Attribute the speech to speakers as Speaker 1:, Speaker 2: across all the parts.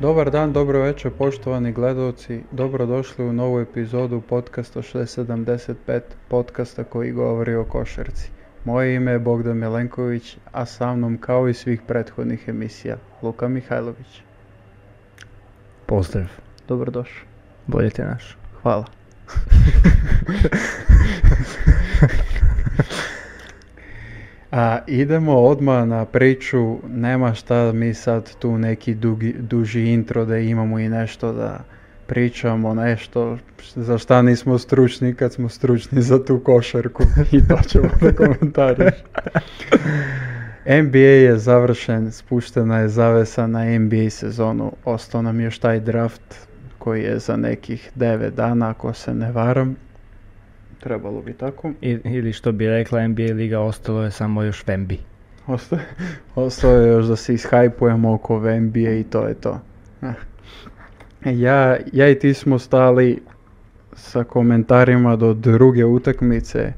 Speaker 1: Добар дан, добро вечер, поштовани гледаоци. Добродошли у нову епизоду подкаста 675, подкаста кој говори о кошерци. Моје име е Богдан Миленковиќ, а са мном као и свих претходних емисија, Лука Михајловиќ.
Speaker 2: Поздрав,
Speaker 1: Добродошли.
Speaker 2: боје ти наш.
Speaker 1: Хвала. А, идемо одма на причу, нема шта ми сад ту неки дуги, дужи интро да имамо и нешто да причамо, нешто за шта нисмо стручни кад смо стручни за ту кошарку и тоа ќемо да коментариш. NBA е завршен, спуштена е завеса на NBA сезону, осто нам јаш тај драфт кој е за неких 9 дана, ако се не варам. Требало би тако.
Speaker 2: И, или што би рекла NBA лига, остало е само још Вемби.
Speaker 1: Оста... Остава još da se ishajpujemo oko NBA i to je to. Eh. E, Ja, ja i ti smo stali sa komentarima do druge utakmice.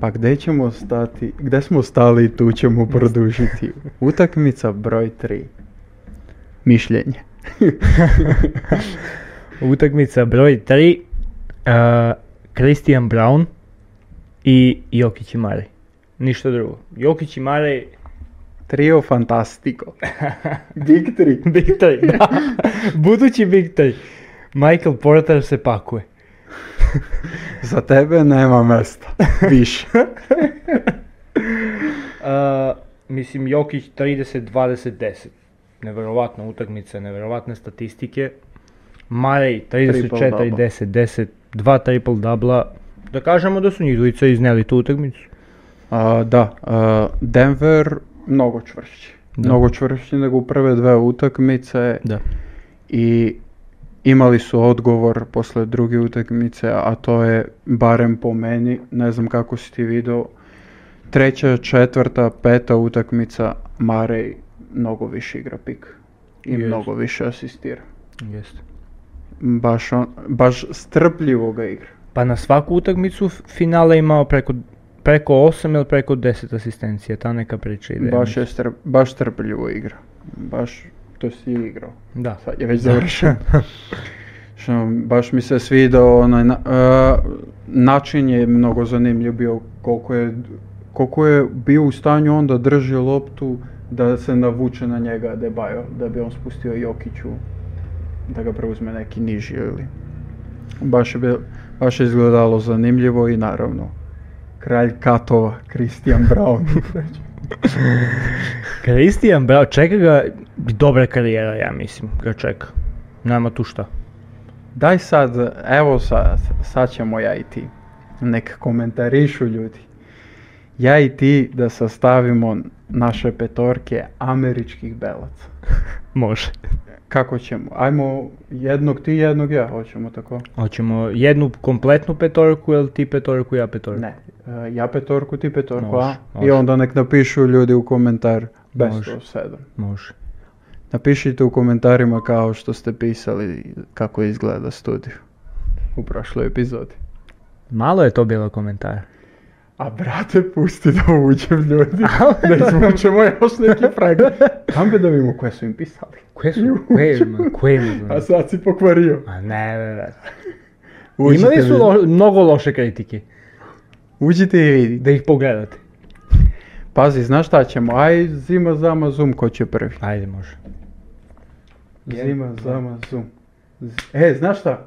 Speaker 1: Pa gde ćemo stati? Gde smo stali i tu ćemo produžiti. Utakmica broj 3. Mišljenje.
Speaker 2: Утакмица број 3, а, Кристијан Браун и Јокич и Мари. Ништо друго. Јокич и Мари...
Speaker 1: Trio Fantastico. Big 3.
Speaker 2: Биг 3, да. Будучи Биг 3. Майкл Портер се пакуе.
Speaker 1: Za tebe nema mesta. Više.
Speaker 2: А, мислим, Јокич 30-20-10. Невероvatna утакмица, невероvatne statistike. Мареј
Speaker 1: Triple double.
Speaker 2: 34-10-10, два трипл дабла. Да кажемо да су njih двојца изнели ту утакмицу.
Speaker 1: А, да, а, Денвер много чврши.
Speaker 2: Да.
Speaker 1: Много чврши него прве две утакмице
Speaker 2: Да.
Speaker 1: и имали су одговор после други утакмице, а то е барем по мене, не знам како си ти видел, треća, четврта, пета утакмица Мареј многу више игра пик и
Speaker 2: Јес.
Speaker 1: многу више асистира.
Speaker 2: Јесте.
Speaker 1: Баш, он, баш стрпљиво га игра.
Speaker 2: Па на сваку утакмицу в- финале имао преко преко 8 или преко 10 асистенција, та нека прича иде.
Speaker 1: Баш, е стр, баш стрпљиво игра. Баш то си е играл.
Speaker 2: Да.
Speaker 1: Sad je već završen. Što baš mi se svidao onaj na- e, način je mnogo zanimljiv bio koliko je koliko je bio u stanju onda drži loptu da se navuče na njega Debajo, da bi on spustio Jokiću da ga preuzme neki niži ili baš je, bil- baš je izgledalo zanimljivo i naravno kralj katova Christian Brown
Speaker 2: Кристијан Брао чека га добра кариера, ја мислим, га чека. Нема ту шта.
Speaker 1: Daj sad, evo sad, sad ćemo ja i ti. Nek komentarišu ljudi. Ja i ti da sastavimo naše petorke američkih belaca.
Speaker 2: Може.
Speaker 1: Kako ćemo? Ajmo jednog ti, jednog ja, hoćemo tako?
Speaker 2: Hoćemo jednu kompletnu petorku ili ti petorku, ja petorku?
Speaker 1: Ne. E, Ja petorku, ti petorku, a?
Speaker 2: Može, može.
Speaker 1: I onda nek napišu ljudi u komentar best
Speaker 2: Može.
Speaker 1: of sedam.
Speaker 2: Može.
Speaker 1: Napišite u komentarima kao što ste pisali kako izgleda studiju u prošloj epizodi.
Speaker 2: Malo je to bilo komentara.
Speaker 1: A brate, pusti da uđem ljudi, da izvučemo još neki frag. Kam bi da vidimo koje su im pisali?
Speaker 2: Koje su? Koje ima? Koje ima?
Speaker 1: A sad si pokvario.
Speaker 2: Ma ne, ne, ne.
Speaker 1: Uđite
Speaker 2: Imali su
Speaker 1: vi-
Speaker 2: lo- mnogo loše kritike.
Speaker 1: Uđite i vidite.
Speaker 2: Da ih pogledate.
Speaker 1: Pazi, znaš šta ćemo? Aj, zima, zama, zoom, ko će prvi?
Speaker 2: Ajde, može.
Speaker 1: Zima, zama, zoom. Z- E, znaš šta?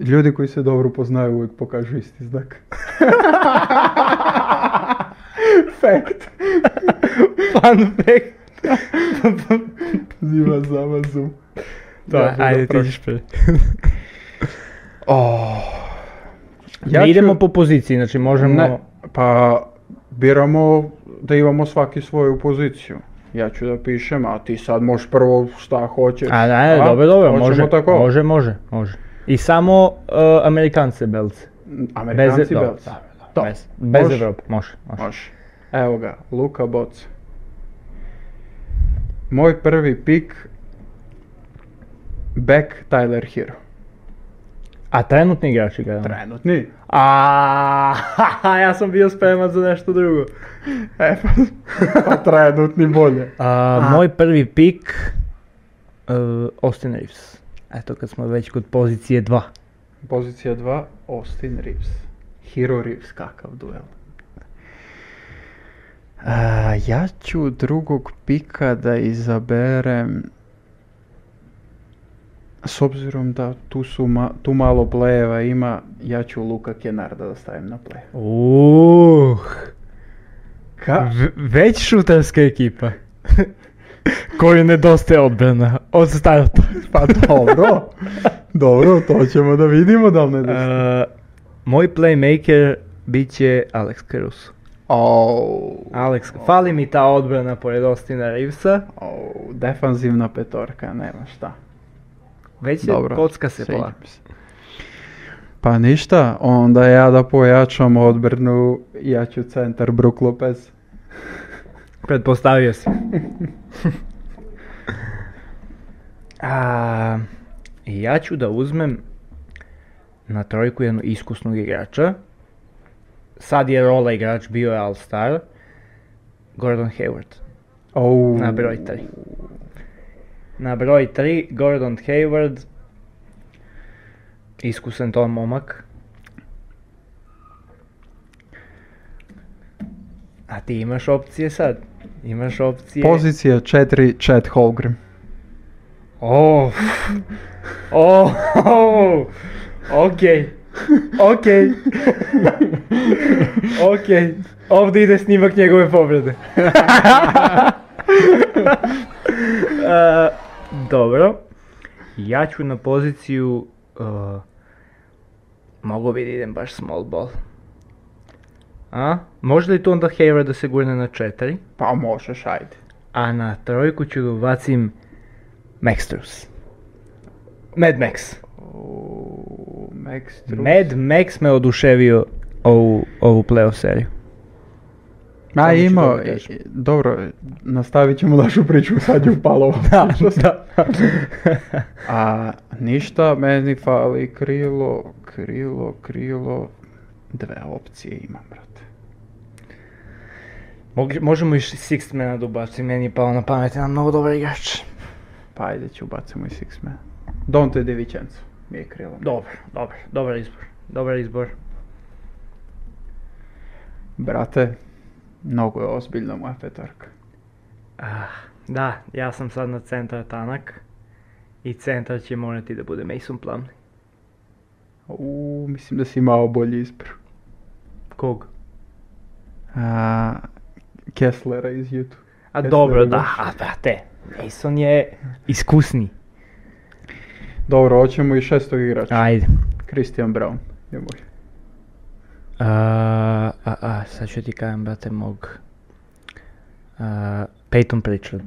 Speaker 1: Ljudi koji se dobro poznaju uvijek pokažu isti znak. Fact.
Speaker 2: Fun fact.
Speaker 1: Zima, zama, zoom.
Speaker 2: Da,
Speaker 1: Dobro,
Speaker 2: ajde, ti
Speaker 1: prošlo.
Speaker 2: ćeš prvi.
Speaker 1: Oh.
Speaker 2: Ja ne idemo po poziciji, znači možemo...
Speaker 1: Ne, pa biramo da imamo svaki svoju poziciju. Ja ću da pišem, a ti sad možeš prvo šta hoćeš.
Speaker 2: A ne, dobro, dobro,
Speaker 1: hoćemo
Speaker 2: može,
Speaker 1: tako.
Speaker 2: može, može, može. I samo uh, Amerikance, belce.
Speaker 1: Amerikanci
Speaker 2: dobro,
Speaker 1: belci.
Speaker 2: da,
Speaker 1: To.
Speaker 2: Bez, bez
Speaker 1: Može.
Speaker 2: Evrope, može, može.
Speaker 1: Može. Evo ga, Luka Boc. Moj prvi pik, back Tyler Hero.
Speaker 2: A trenutni igrači ga imamo.
Speaker 1: Trenutni.
Speaker 2: A, ja sam bio spreman za nešto drugo.
Speaker 1: E, pa, pa trenutni bolje.
Speaker 2: A, moj prvi pik uh, Austin Reeves. Eto kad smo već kod pozicije 2.
Speaker 1: Pozicija 2, Austin Reeves. Hero Reeves, kakav duel. A, ja ću drugog pika da izaberem s obzirom da tu, su ma- tu malo plejeva ima, ja ću Luka Kenarda da stavim na play.
Speaker 2: Uh,
Speaker 1: Ka?
Speaker 2: v- već šutarska ekipa. Koju nedostaje odbrana od starta.
Speaker 1: Pa dobro, dobro, to ćemo da vidimo da li ne da...
Speaker 2: Uh, moj playmaker bit će Alex Caruso.
Speaker 1: Au,
Speaker 2: Alex, fali mi ta odbrana pored Austina Reevesa.
Speaker 1: au, defanzivna petorka, nema šta.
Speaker 2: Već je
Speaker 1: Dobro,
Speaker 2: kocka se
Speaker 1: sviđa
Speaker 2: polako.
Speaker 1: mi se. Pa ništa, onda ja da pojačam odbrnu, ja ću centar Brook Lopez.
Speaker 2: Pretpostavio si. A, ja ću da uzmem na trojku jednog iskusnog igrača. Sad je rola igrač, bio je All-Star. Gordon Hayward.
Speaker 1: Au.
Speaker 2: Na broj 3. Na broj 3, Gordon Hayward. Iskusan to momak. A ti imaš opcije sad. Imaš opcije...
Speaker 1: Pozicija 4, Chad Holgrim.
Speaker 2: Oh. Oh. Ok. Ok. ok. Ovdje ide snimak njegove povrede. E, dobro. Ja ću na poziciju... e, mogu bi da idem baš small ball. A? Može li tu onda Hayward da se gurne na četiri?
Speaker 1: Pa možeš, ajde.
Speaker 2: A na trojku ću da ubacim Maxtrus. Mad Max.
Speaker 1: Au, Max Strus.
Speaker 2: Mad Max me oduševio ovu, ovu playoff seriju.
Speaker 1: Ma
Speaker 2: Samo ću
Speaker 1: imao,
Speaker 2: dobro kažem.
Speaker 1: i- dobro, nastavit ćemo našu priču, sad je upalo ova priča.
Speaker 2: da.
Speaker 1: A ništa, meni fali krilo, krilo, krilo, dve opcije imam, brate.
Speaker 2: Mog- Možemo i Sixth Mana da ubacim, meni je pao na pamet, jedan mnogo dobar igrač.
Speaker 1: Pa ajde ću ubacimo i Six Man. Dante De Vincenzo, mi je krilo.
Speaker 2: Dobar, dobar, dobar izbor. Dobar izbor.
Speaker 1: Brate, mnogo je ozbiljno moja petarka.
Speaker 2: Ah, da, ja sam sad na centar tanak. I centar će morati da bude Mason Plumlee.
Speaker 1: U, mislim da si imao bolji izbor.
Speaker 2: Kog?
Speaker 1: A, Kesslera iz YouTube.
Speaker 2: A
Speaker 1: Jeste
Speaker 2: dobro,
Speaker 1: li
Speaker 2: da,
Speaker 1: baš?
Speaker 2: a brate, Mason je iskusni.
Speaker 1: Dobro, hoćemo i šestog igrača.
Speaker 2: Ajde.
Speaker 1: Christian Brown je moj.
Speaker 2: A, a, a, sad ću ti kajem, brate, mog. A, Peyton Pritchard.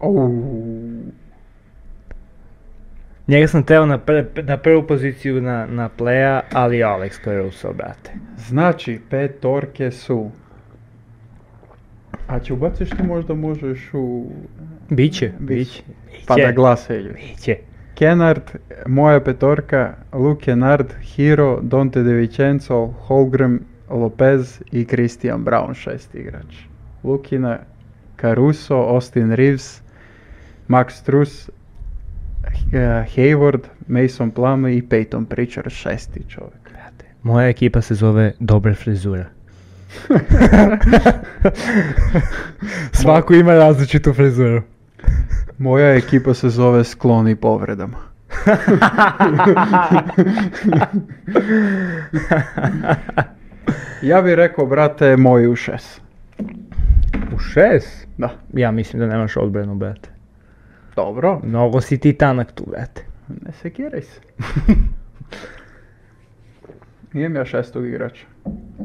Speaker 1: Au.
Speaker 2: Njega sam teo na, pr- na prvu poziciju na, na playa, ali Alex Caruso, brate.
Speaker 1: Znači, petorke su... A će ubaciš ti možda možeš u...
Speaker 2: Biće,
Speaker 1: Bić.
Speaker 2: biće.
Speaker 1: Pa da
Speaker 2: Biće.
Speaker 1: glase ljudi.
Speaker 2: Biće.
Speaker 1: Kenard, moja petorka, Luke Kenard, Hiro, Dante De Vincenzo, Holgram, Lopez i Christian Brown, šest igrač. Lukina, Caruso, Austin Reeves, Max Truss, eh, Hayward, Mason Plumlee i Peyton Pritchard, šesti čovjek.
Speaker 2: Brate, Moja ekipa se zove Dobra frizura. Svako ima različitu frizuru.
Speaker 1: Moja ekipa se zove Skloni povredama. Ja bih rekao, brate, moji u šest.
Speaker 2: U šest?
Speaker 1: Da.
Speaker 2: Ja mislim da nemaš odbranu, brate.
Speaker 1: Dobro,
Speaker 2: Mnogo si ti tanak tu, brate.
Speaker 1: Ne sekiraj se. Nijem ja šestog igrača.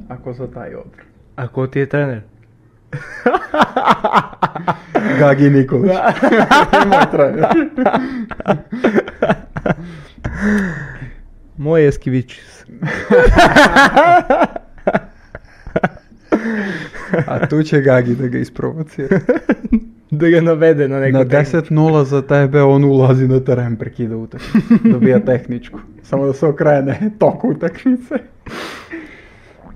Speaker 1: Ako za taj odbor.
Speaker 2: A ko ti je trener?
Speaker 1: Gagi Nikolić. Moj trener.
Speaker 2: Moj Eskivičius.
Speaker 1: A tu će Gagi da ga isprovocira.
Speaker 2: da ga navede na neko
Speaker 1: Na
Speaker 2: tehničko.
Speaker 1: 10-0 za tebe on ulazi na teren, prekida utakmicu. Dobija tehničku. Samo da se okrene tok utakmice.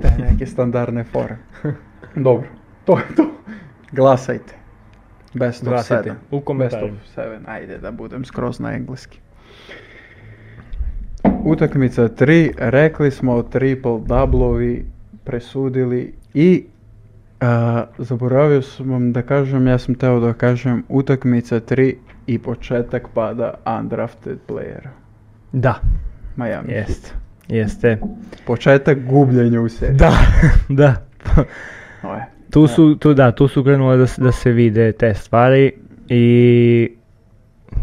Speaker 1: Te neke standardne fore. Dobro, to je to. Glasajte. Best
Speaker 2: Dva
Speaker 1: of
Speaker 2: seta.
Speaker 1: 7.
Speaker 2: U
Speaker 1: Best
Speaker 2: komentaru.
Speaker 1: of 7, ajde da budem skroz na engleski. Utakmica 3, rekli smo triple doublovi, presudili i a, zaboravio sam vam da kažem, ja sam teo da kažem utakmica 3 i početak pada undrafted playera.
Speaker 2: Da,
Speaker 1: Miami.
Speaker 2: jest. Jeste.
Speaker 1: Početak gubljenja u seriji.
Speaker 2: Da, da.
Speaker 1: To je.
Speaker 2: Tu su, tu, da, tu su krenule da, s- da se vide te stvari i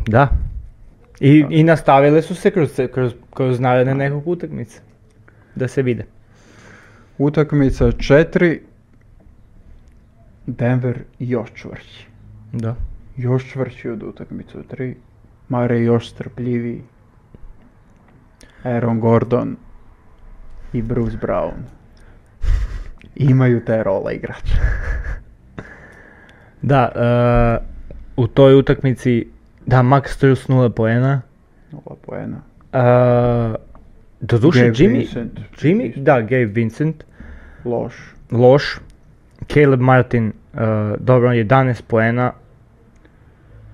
Speaker 2: da. I, i nastavile su se kroz, kroz, kroz naredne nekog utakmice. Da se vide.
Speaker 1: Utakmica 4, Denver još čvrći.
Speaker 2: Da.
Speaker 1: Još čvrći od utakmice 3, Mare još strpljiviji. Aaron Gordon i Bruce Brown imaju te rola igrača.
Speaker 2: Da, e, u toj utakmici, da, Max Strus 0 poena.
Speaker 1: Nula poena.
Speaker 2: E, doduše,
Speaker 1: Gabe
Speaker 2: Jimmy,
Speaker 1: Vincent,
Speaker 2: Jimmy, da, Gabe Vincent,
Speaker 1: Loš.
Speaker 2: loš. Caleb Martin, e, dobro, 11 poena.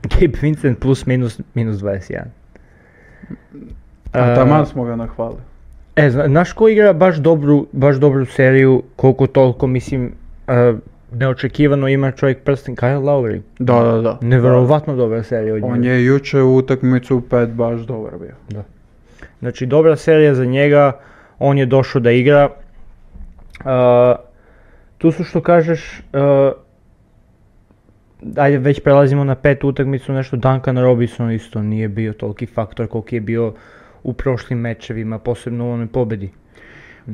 Speaker 2: Gabe Vincent plus minus, minus 21.
Speaker 1: A
Speaker 2: E,
Speaker 1: taman smo ga nahvalili.
Speaker 2: E, zna- znaš ko igra baš dobru, baš dobru seriju, koliko toliko, mislim, e, neočekivano ima čovjek prsten, Kyle Lowry.
Speaker 1: Da, da, Pa, da.
Speaker 2: Neverovatno dobra serija od njega.
Speaker 1: On je juče u utakmicu 5 baš dobar bio.
Speaker 2: Znači, dobra serija za njega, on je došao da igra. Uh, tu su što kažeš, uh, ajde već prelazimo na petu utakmicu, nešto Duncan Robinson isto nije bio toliki faktor koliki je bio u prošlim mečevima, posebno u onoj pobedi.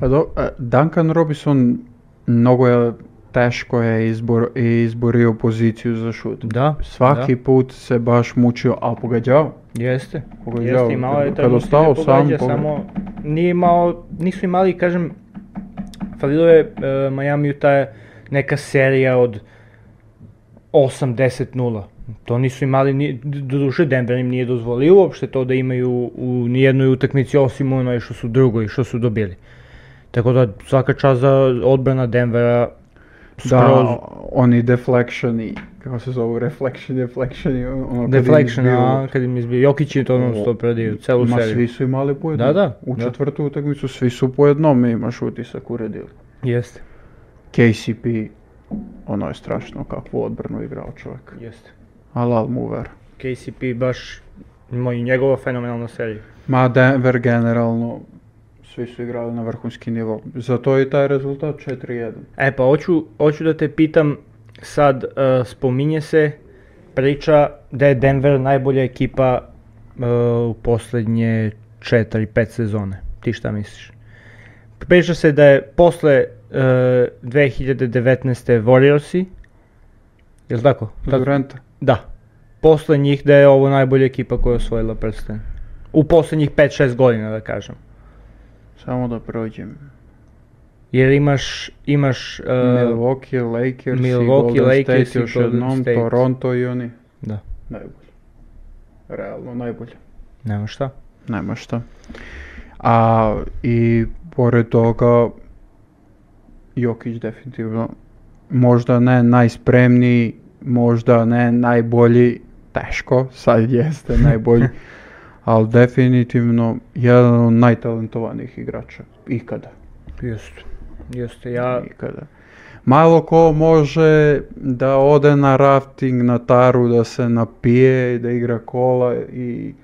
Speaker 1: Pa do, e, Duncan Robinson mnogo je teško je izbor, izborio poziciju za šut.
Speaker 2: Da,
Speaker 1: Svaki put se baš mučio, a pogađao.
Speaker 2: Jeste,
Speaker 1: Pogađao,
Speaker 2: jeste imao je
Speaker 1: kad-
Speaker 2: trenutke
Speaker 1: kad ostao
Speaker 2: gdje pogađa,
Speaker 1: sam, pogod-
Speaker 2: samo nije imao, nisu imali, kažem, falilo je e, Miami ta neka serija od 8-10-0. To nisu imali, ni, doduše Denver im nije dozvolio uopšte to da imaju u nijednoj utakmici osim u onoj što su drugoj, što su dobili. Tako da svaka čast za odbrana Denvera skroz
Speaker 1: Da, oni deflectioni, kako se zovu, reflection, deflectioni, ono kad im
Speaker 2: deflection,
Speaker 1: izbiju-
Speaker 2: a kad im izbio, Jokić je to non stop radio, celu
Speaker 1: Ma
Speaker 2: seriju.
Speaker 1: svi su imali po jednom.
Speaker 2: Da, da,
Speaker 1: U
Speaker 2: da.
Speaker 1: četvrtu utakmicu svi su po jednom i imaš utisak uredili.
Speaker 2: Jeste,
Speaker 1: KCP, ono je strašno kakvu odbranu igrao čovjek.
Speaker 2: jeste.
Speaker 1: Alal mover.
Speaker 2: KCP baš moj, njegova fenomenalna serija.
Speaker 1: Ma Denver generalno, svi su igrali na vrhunski nivo. Zato i taj rezultat 4-1.
Speaker 2: E pa hoću, hoću da te pitam sad, e, spominje se priča da je Denver najbolja ekipa e, u posljednje 4-5 sezone. Ti šta misliš? Priča se da je posle e, 2019. Warriorsi, jel tako?
Speaker 1: Mhm.
Speaker 2: Tad-
Speaker 1: Duranta.
Speaker 2: Da. Posle njih da je ovo najbolja ekipa koja je osvojila prsten. U posljednjih 5-6 godina da kažem.
Speaker 1: Samo da prođem.
Speaker 2: Jer imaš, imaš... e,
Speaker 1: Milwaukee, Lakers i
Speaker 2: Milwaukee,
Speaker 1: Golden
Speaker 2: Lakers
Speaker 1: State
Speaker 2: i
Speaker 1: još
Speaker 2: Golden
Speaker 1: jednom,
Speaker 2: State.
Speaker 1: Toronto i oni.
Speaker 2: Da,
Speaker 1: Najbolje. Realno najbolje.
Speaker 2: nema šta.
Speaker 1: Nema šta. A i pored toga Jokić definitivno možda ne najspremniji, možda ne najbolji, teško, sad jeste najbolji, ali definitivno jedan od najtalentovanijih igrača ikada.
Speaker 2: Jeste. Jeste, ja...
Speaker 1: Nikada. Malo ko može da ode na rafting na taru, da se napije, da igra kola i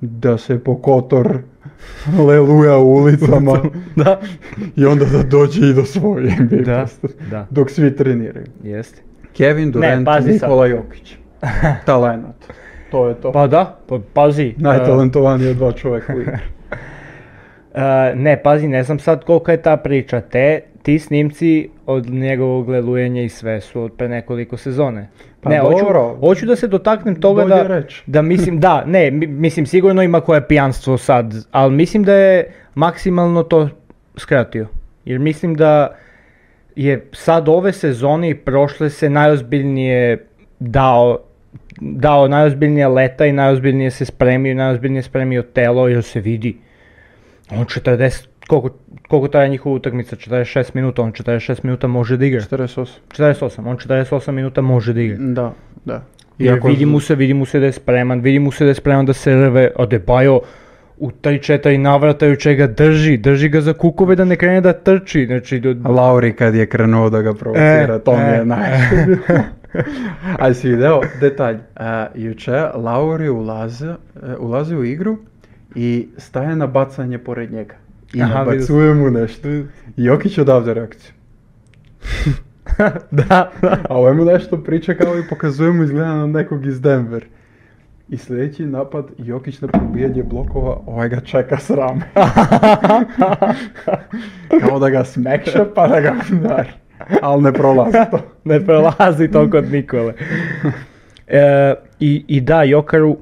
Speaker 1: da se po kotor leluja u ulicama
Speaker 2: da.
Speaker 1: i onda da dođe i do svoje NBA
Speaker 2: Da,
Speaker 1: postaje,
Speaker 2: da.
Speaker 1: dok svi treniraju.
Speaker 2: Jeste.
Speaker 1: Kevin Durant,
Speaker 2: pazi sad.
Speaker 1: Nikola Jokić. Talenat. To je to.
Speaker 2: Pa da, pa pazi.
Speaker 1: Najtalentovanije dva čoveka u igri.
Speaker 2: e, e, ne, pazi, ne znam sad kolika je ta priča. Te, ti snimci od njegovog lelujenja i sve su od pre nekoliko sezone.
Speaker 1: Pa
Speaker 2: ne,
Speaker 1: dobro.
Speaker 2: Hoću, hoću da se dotaknem toga
Speaker 1: Bolje
Speaker 2: da,
Speaker 1: reći.
Speaker 2: da mislim, da, ne, mi- mislim sigurno ima koje pijanstvo sad, ali mislim da je maksimalno to skratio. Jer mislim da je sad ove sezone i prošle se najozbiljnije dao dao najozbiljnije leta i najozbiljnije se spremio i najozbiljnije spremio telo jer se vidi. On 40, koliko, koliko traje njihova utakmica, 46 minuta, on 46 minuta može da igra.
Speaker 1: 48.
Speaker 2: 48, on 48 minuta može da igra.
Speaker 1: Da. Da.
Speaker 2: Jer
Speaker 1: Iako-
Speaker 2: vidi mu se, vidi mu se da je spreman, vidi mu se da je spreman da se rve. Adebayo u 3-4 navrata juče ga drži, drži ga za kukove da ne krene da trči. Znači, do-
Speaker 1: Lauri kad je krenuo da ga provocira,
Speaker 2: E,
Speaker 1: to mi
Speaker 2: e.
Speaker 1: je najviše. Ali si video detalj, a, juče Lauri ulaze, e, ulazi u igru i staje na bacanje pored njega. I
Speaker 2: Aha, vidio sam.
Speaker 1: nabacuje mu nešto. Jokić odavde reakciju.
Speaker 2: da, da.
Speaker 1: A ovaj mu nešto priča kao i pokazuje mu izgleda na nekog iz Denver. I sljedeći napad, Jokić na probijanje blokova, ovaj ga čeka s rame. kao da ga smekše pa da ga udari. Ali ne prolazi Znači, to.
Speaker 2: Pa, ne prelazi to kod Nikole. E, i, I da, Jokaru,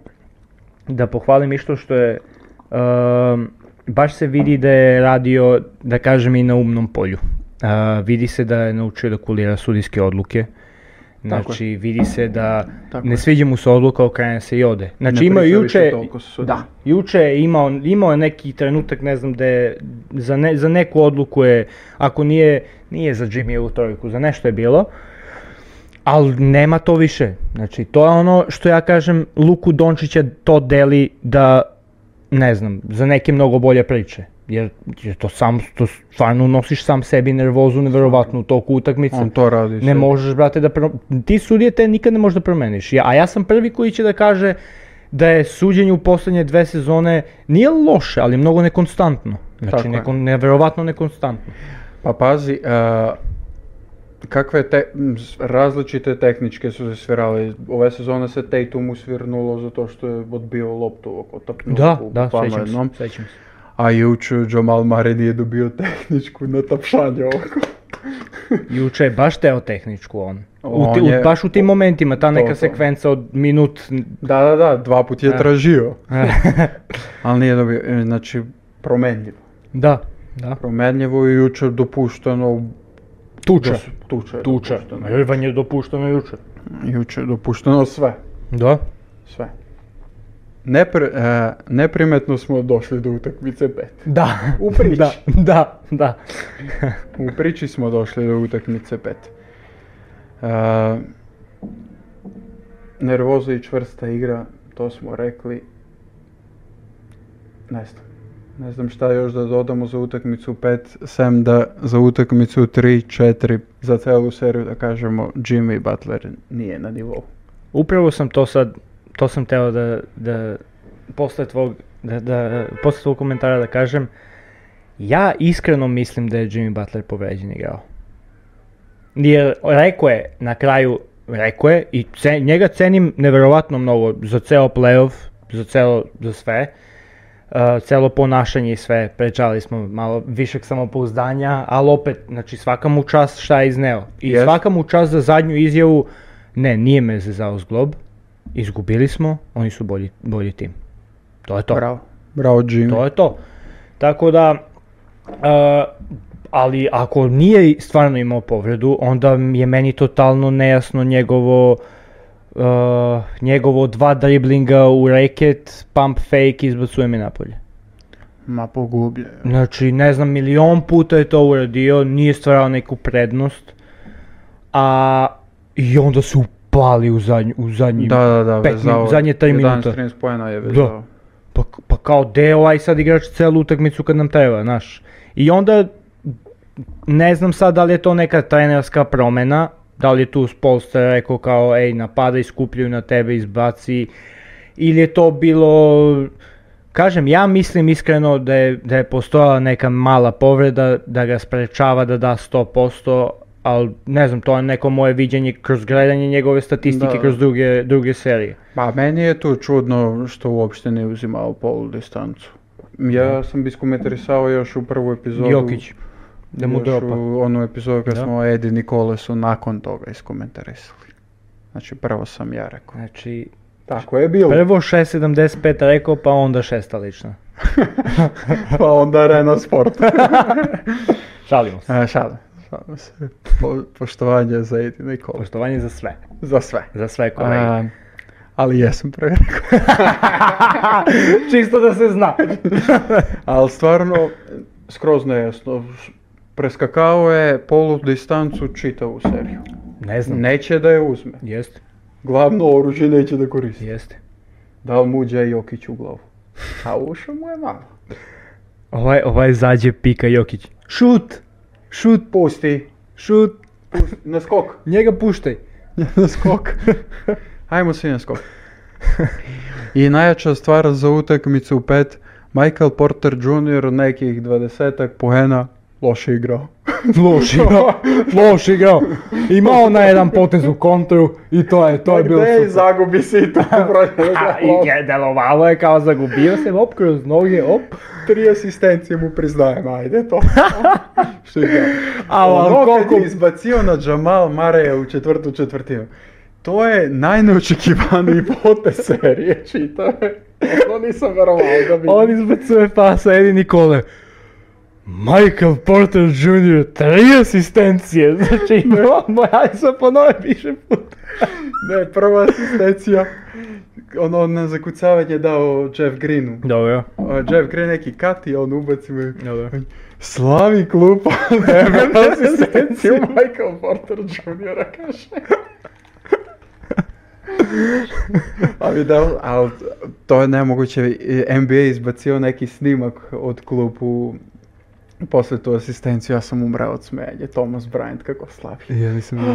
Speaker 2: da pohvalim išto što je, em, baš se vidi da je radio, da kažem, i na umnom polju. E, vidi se da je naučio da kulira sudijske odluke. Znači, vidi se da
Speaker 1: Tako
Speaker 2: ne
Speaker 1: je.
Speaker 2: sviđa mu se odluka, okrene se i ode. Znači,
Speaker 1: Ne
Speaker 2: imao je
Speaker 1: priča više
Speaker 2: juče,
Speaker 1: toliko sa sudijom.
Speaker 2: da, juče je imao, imao je neki trenutak, ne znam, da je za, ne- za neku odluku je, ako nije, nije za Jimmy u trojku, za nešto je bilo, ali nema to više. Znači, to je ono što ja kažem, Luku Dončića to deli da, ne znam, za neke mnogo bolje priče. Jer, jer to sam, to stvarno unosiš sam sebi nervozu nevjerovatnu u toku utakmice.
Speaker 1: On to radi.
Speaker 2: Ne
Speaker 1: sve.
Speaker 2: možeš, brate, da pro... ti sudije te nikad ne možeš da promeniš. Ja, a ja sam prvi koji će da kaže da je suđenje u posljednje dve sezone nije loše, ali mnogo nekonstantno. Znači,
Speaker 1: Tako je.
Speaker 2: nekon, nevjerovatno nekonstantno.
Speaker 1: Pa pazi, a, kakve te, m, s- različite tehničke su se svirale. Ove sezone se Tatum usvirnulo zato što je odbio loptu oko tapnuo
Speaker 2: Da,
Speaker 1: po
Speaker 2: da,
Speaker 1: palma
Speaker 2: sećam
Speaker 1: jednom.
Speaker 2: se, sećam se.
Speaker 1: A juče Jamal Mare nije dobio tehničku na tapšanje oko.
Speaker 2: Juče je baš teo tehničku on. U
Speaker 1: On
Speaker 2: ti- u-
Speaker 1: je-
Speaker 2: baš u tim momentima, ta neka
Speaker 1: to.
Speaker 2: sekvenca od minut...
Speaker 1: Da, da, da, dva put je
Speaker 2: Da.
Speaker 1: tražio. Ali nije dobio, e, znači promenljivo.
Speaker 2: da, da.
Speaker 1: Promenljivo i jučer dopušteno
Speaker 2: Tuča.
Speaker 1: da su- tuča. je
Speaker 2: Tuča.
Speaker 1: dopušteno.
Speaker 2: Rvanje je dopušteno juče.
Speaker 1: Jučer dopušteno sve.
Speaker 2: Da.
Speaker 1: Sve. Nepr- e, neprimetno smo došli do utakmice 5.
Speaker 2: Da.
Speaker 1: U priči.
Speaker 2: Da, da, da.
Speaker 1: U priči smo došli do utakmice 5. nervoza i čvrsta igra, to smo rekli. Ne znam. Ne znam šta još da dodamo za utakmicu 5, sem da za utakmicu 3, 4, za celu seriju da kažemo Jimmy Butler nije na nivou.
Speaker 2: Upravo sam to sad, to sam teo da, da posle tvog, da, da, posle tvog komentara da kažem, ja iskreno mislim da je Jimmy Butler povređen igrao. Jer rekao je na kraju, rekao je i ce- njega cenim nevjerovatno mnogo za ceo playoff, za celo, za sve. Uh, celo ponašanje i sve, prečali smo malo višeg samopouzdanja, ali opet, znači svaka mu čast šta je izneo. I
Speaker 1: Jest.
Speaker 2: svaka mu čast za zadnju izjavu, ne, nije me zezao zglob, izgubili smo, oni su bolji, bolji tim. To je to.
Speaker 1: Bravo. Bravo Jimmy.
Speaker 2: To je to. Tako da, e, ali ako nije stvarno imao povredu, onda mi je meni totalno nejasno njegovo e, njegovo dva driblinga u reket, pump fake, izbacuje me napolje.
Speaker 1: Ma pogublja. je.
Speaker 2: Znači, ne znam, milion puta je to uradio, nije stvarao neku prednost, a i onda se upali u, zadnju, u zadnjim.
Speaker 1: Da, da, da,
Speaker 2: pet
Speaker 1: vezao.
Speaker 2: minu-
Speaker 1: je.
Speaker 2: zadnje tri minuta.
Speaker 1: 11-13 poena je vezao.
Speaker 2: Pa, pa kao de ovaj sad igrač celu utakmicu kad nam treba, znaš. I onda ne znam sad da li je to neka trenerska promena, da li je tu Spolster rekao kao ej napadaj, skupljaju na tebe, izbaci ili je to bilo kažem ja mislim iskreno da je, da je postojala neka mala povreda da ga sprečava da da 100% ali ne znam, to je neko moje viđenje kroz gledanje njegove statistike
Speaker 1: Da.
Speaker 2: kroz druge, druge serije.
Speaker 1: Pa meni je to čudno što uopšte ne uzimao polu distancu. Ja sam biskometrisao još u prvu epizodu.
Speaker 2: Jokić, da mu
Speaker 1: još
Speaker 2: dropa.
Speaker 1: u onu epizodu kad
Speaker 2: Da.
Speaker 1: smo Edi Nikolesu nakon toga iskomentarisali. Znači prvo sam ja rekao.
Speaker 2: Znači,
Speaker 1: Tako je bilo.
Speaker 2: Prvo 6.75 rekao, pa onda šesta lična.
Speaker 1: pa onda Rena Sport.
Speaker 2: Šalimo se.
Speaker 1: E, šalim, šalim se. Po, poštovanje za Edi Nikolesu.
Speaker 2: Poštovanje za sve.
Speaker 1: Za sve.
Speaker 2: Za sve kolege.
Speaker 1: A, ali jesam prvi rekao.
Speaker 2: Čisto da se zna.
Speaker 1: Ali stvarno, skroz nejasno. Preskakao je polu distancu čitavu seriju.
Speaker 2: ne znam.
Speaker 1: Neće da je uzme.
Speaker 2: Jest.
Speaker 1: Glavno oružje neće da koristi.
Speaker 2: Jeste.
Speaker 1: Dao mu Đe Jokić u glavu. A ušao mu je malo.
Speaker 2: Ovaj, ovaj zađe pika Jokić. Šut! Šut!
Speaker 1: Pusti.
Speaker 2: Šut!
Speaker 1: Pusti. Na skok.
Speaker 2: Njega puštaj.
Speaker 1: na skok. Ajmo svi na skok. I najjača stvar za utakmicu pet, Michael Porter Jr. nekih 20 poena, loše igrao.
Speaker 2: Loš igrao. Loš igrao. Imao na jedan potez u kontru i to je, to je bilo
Speaker 1: Ej,
Speaker 2: super.
Speaker 1: zagubi si i to protiv
Speaker 2: A, i je, delovalo je kao zagubio se, op, kroz noge, op.
Speaker 1: Tri asistencije mu priznajem, ajde to. Što igrao.
Speaker 2: A, ali
Speaker 1: Ono kad
Speaker 2: koliko...
Speaker 1: je izbacio na Jamal Mareja u četvrtu četvrtinu. To je najneočekivaniji potez serije, čitave. Ono nisam verovao da bi...
Speaker 2: On izbacuje pasa Edi Nikole. Michael Porter Jr. tri asistencije, znači imao, moj, ajde sad ponove više puta.
Speaker 1: Ne, prva asistencija. Ono na zakucavanje dao Jeff Greenu.
Speaker 2: Dobro,
Speaker 1: A Jeff Green neki kat i on ubaci me.
Speaker 2: dobro.
Speaker 1: Slavi klupa, nema asistenciju
Speaker 2: asistenciju.
Speaker 1: Michael Porter Jr. kaže. ali da, ali to je eh, nemoguće. I NBA je izbacio neki snimak od klupu posle tu asistenciju, ja sam umrao od smenje, Thomas Bryant kako slavi.
Speaker 2: Ja nisam bio.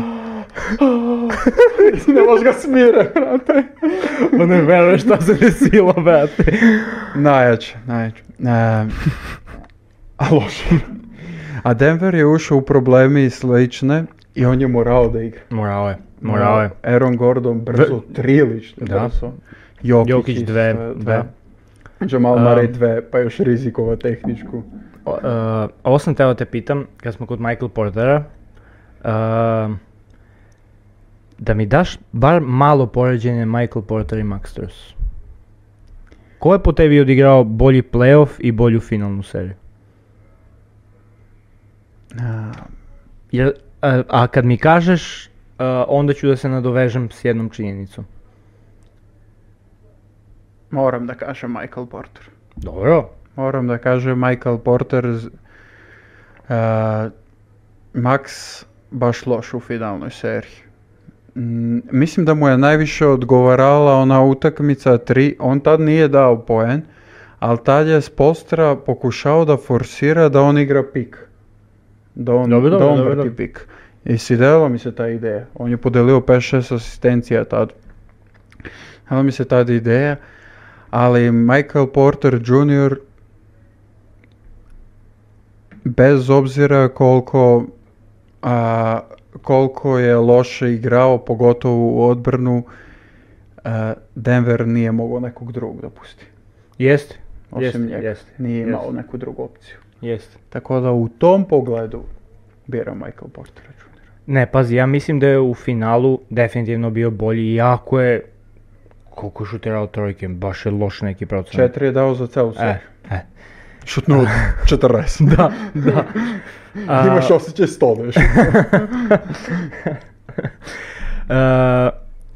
Speaker 1: ne možeš ga smire, brate.
Speaker 2: Ma ne veruješ šta se desilo, brate.
Speaker 1: Najjače, najjače. Ehm, a loše. A Denver je ušao u problemi i slične i on je morao da igra. No,
Speaker 2: Morao je, morao je.
Speaker 1: Aaron Gordon brzo, tri lične
Speaker 2: Da.
Speaker 1: brzo. Jokić,
Speaker 2: Jokić
Speaker 1: isto,
Speaker 2: dve, Um,
Speaker 1: dve. Jamal Murray dve, pa još rizikova tehničku.
Speaker 2: O, e, ovo sam teo te pitam, kad smo kod Michael Portera, e, da mi daš bar malo poređenje Michael Porter i Max Strus. Ko je po tebi odigrao bolji playoff i bolju finalnu seriju?
Speaker 1: A,
Speaker 2: Jer, e, a kad mi kažeš, e, onda ću da se nadovežem s jednom činjenicom.
Speaker 1: moram da kažem Michael Porter.
Speaker 2: Dobro.
Speaker 1: Moram da kažem Michael Porter z- a, Max baš loš u finalnoj seriji. Mm, mislim da mu je najviše odgovarala ona utakmica 3, on tad nije dao poen, ali tad je s postra pokušao da forsira da on igra pik. Da on,
Speaker 2: Dobro, dobro,
Speaker 1: da on
Speaker 2: dobro,
Speaker 1: vrti
Speaker 2: dobro.
Speaker 1: pik. I svidjela mi se ta ideja. On je podelio 5-6 asistencija tad. Hvala mi se tada ideja, ali Michael Porter Jr. bez obzira koliko, a, koliko je loše igrao, pogotovo u odbranu, a, Denver nije mogao nekog drugog da pusti.
Speaker 2: Jeste.
Speaker 1: Osim
Speaker 2: jeste,
Speaker 1: njega.
Speaker 2: jeste,
Speaker 1: nije
Speaker 2: jeste,
Speaker 1: imao neku drugu opciju.
Speaker 2: Jeste.
Speaker 1: Tako da u tom pogledu biram Michael Porter Jr.
Speaker 2: Ne, pazi, ja mislim da je u finalu definitivno bio bolji, jako je koliko je šutirao trojke, baš je loš neki procenat.
Speaker 1: Četiri je dao za celu
Speaker 2: E,
Speaker 1: seriju.
Speaker 2: e.
Speaker 1: Šutnuo 40. da.
Speaker 2: Da. A,
Speaker 1: Imaš osjećaj stoneš.
Speaker 2: e,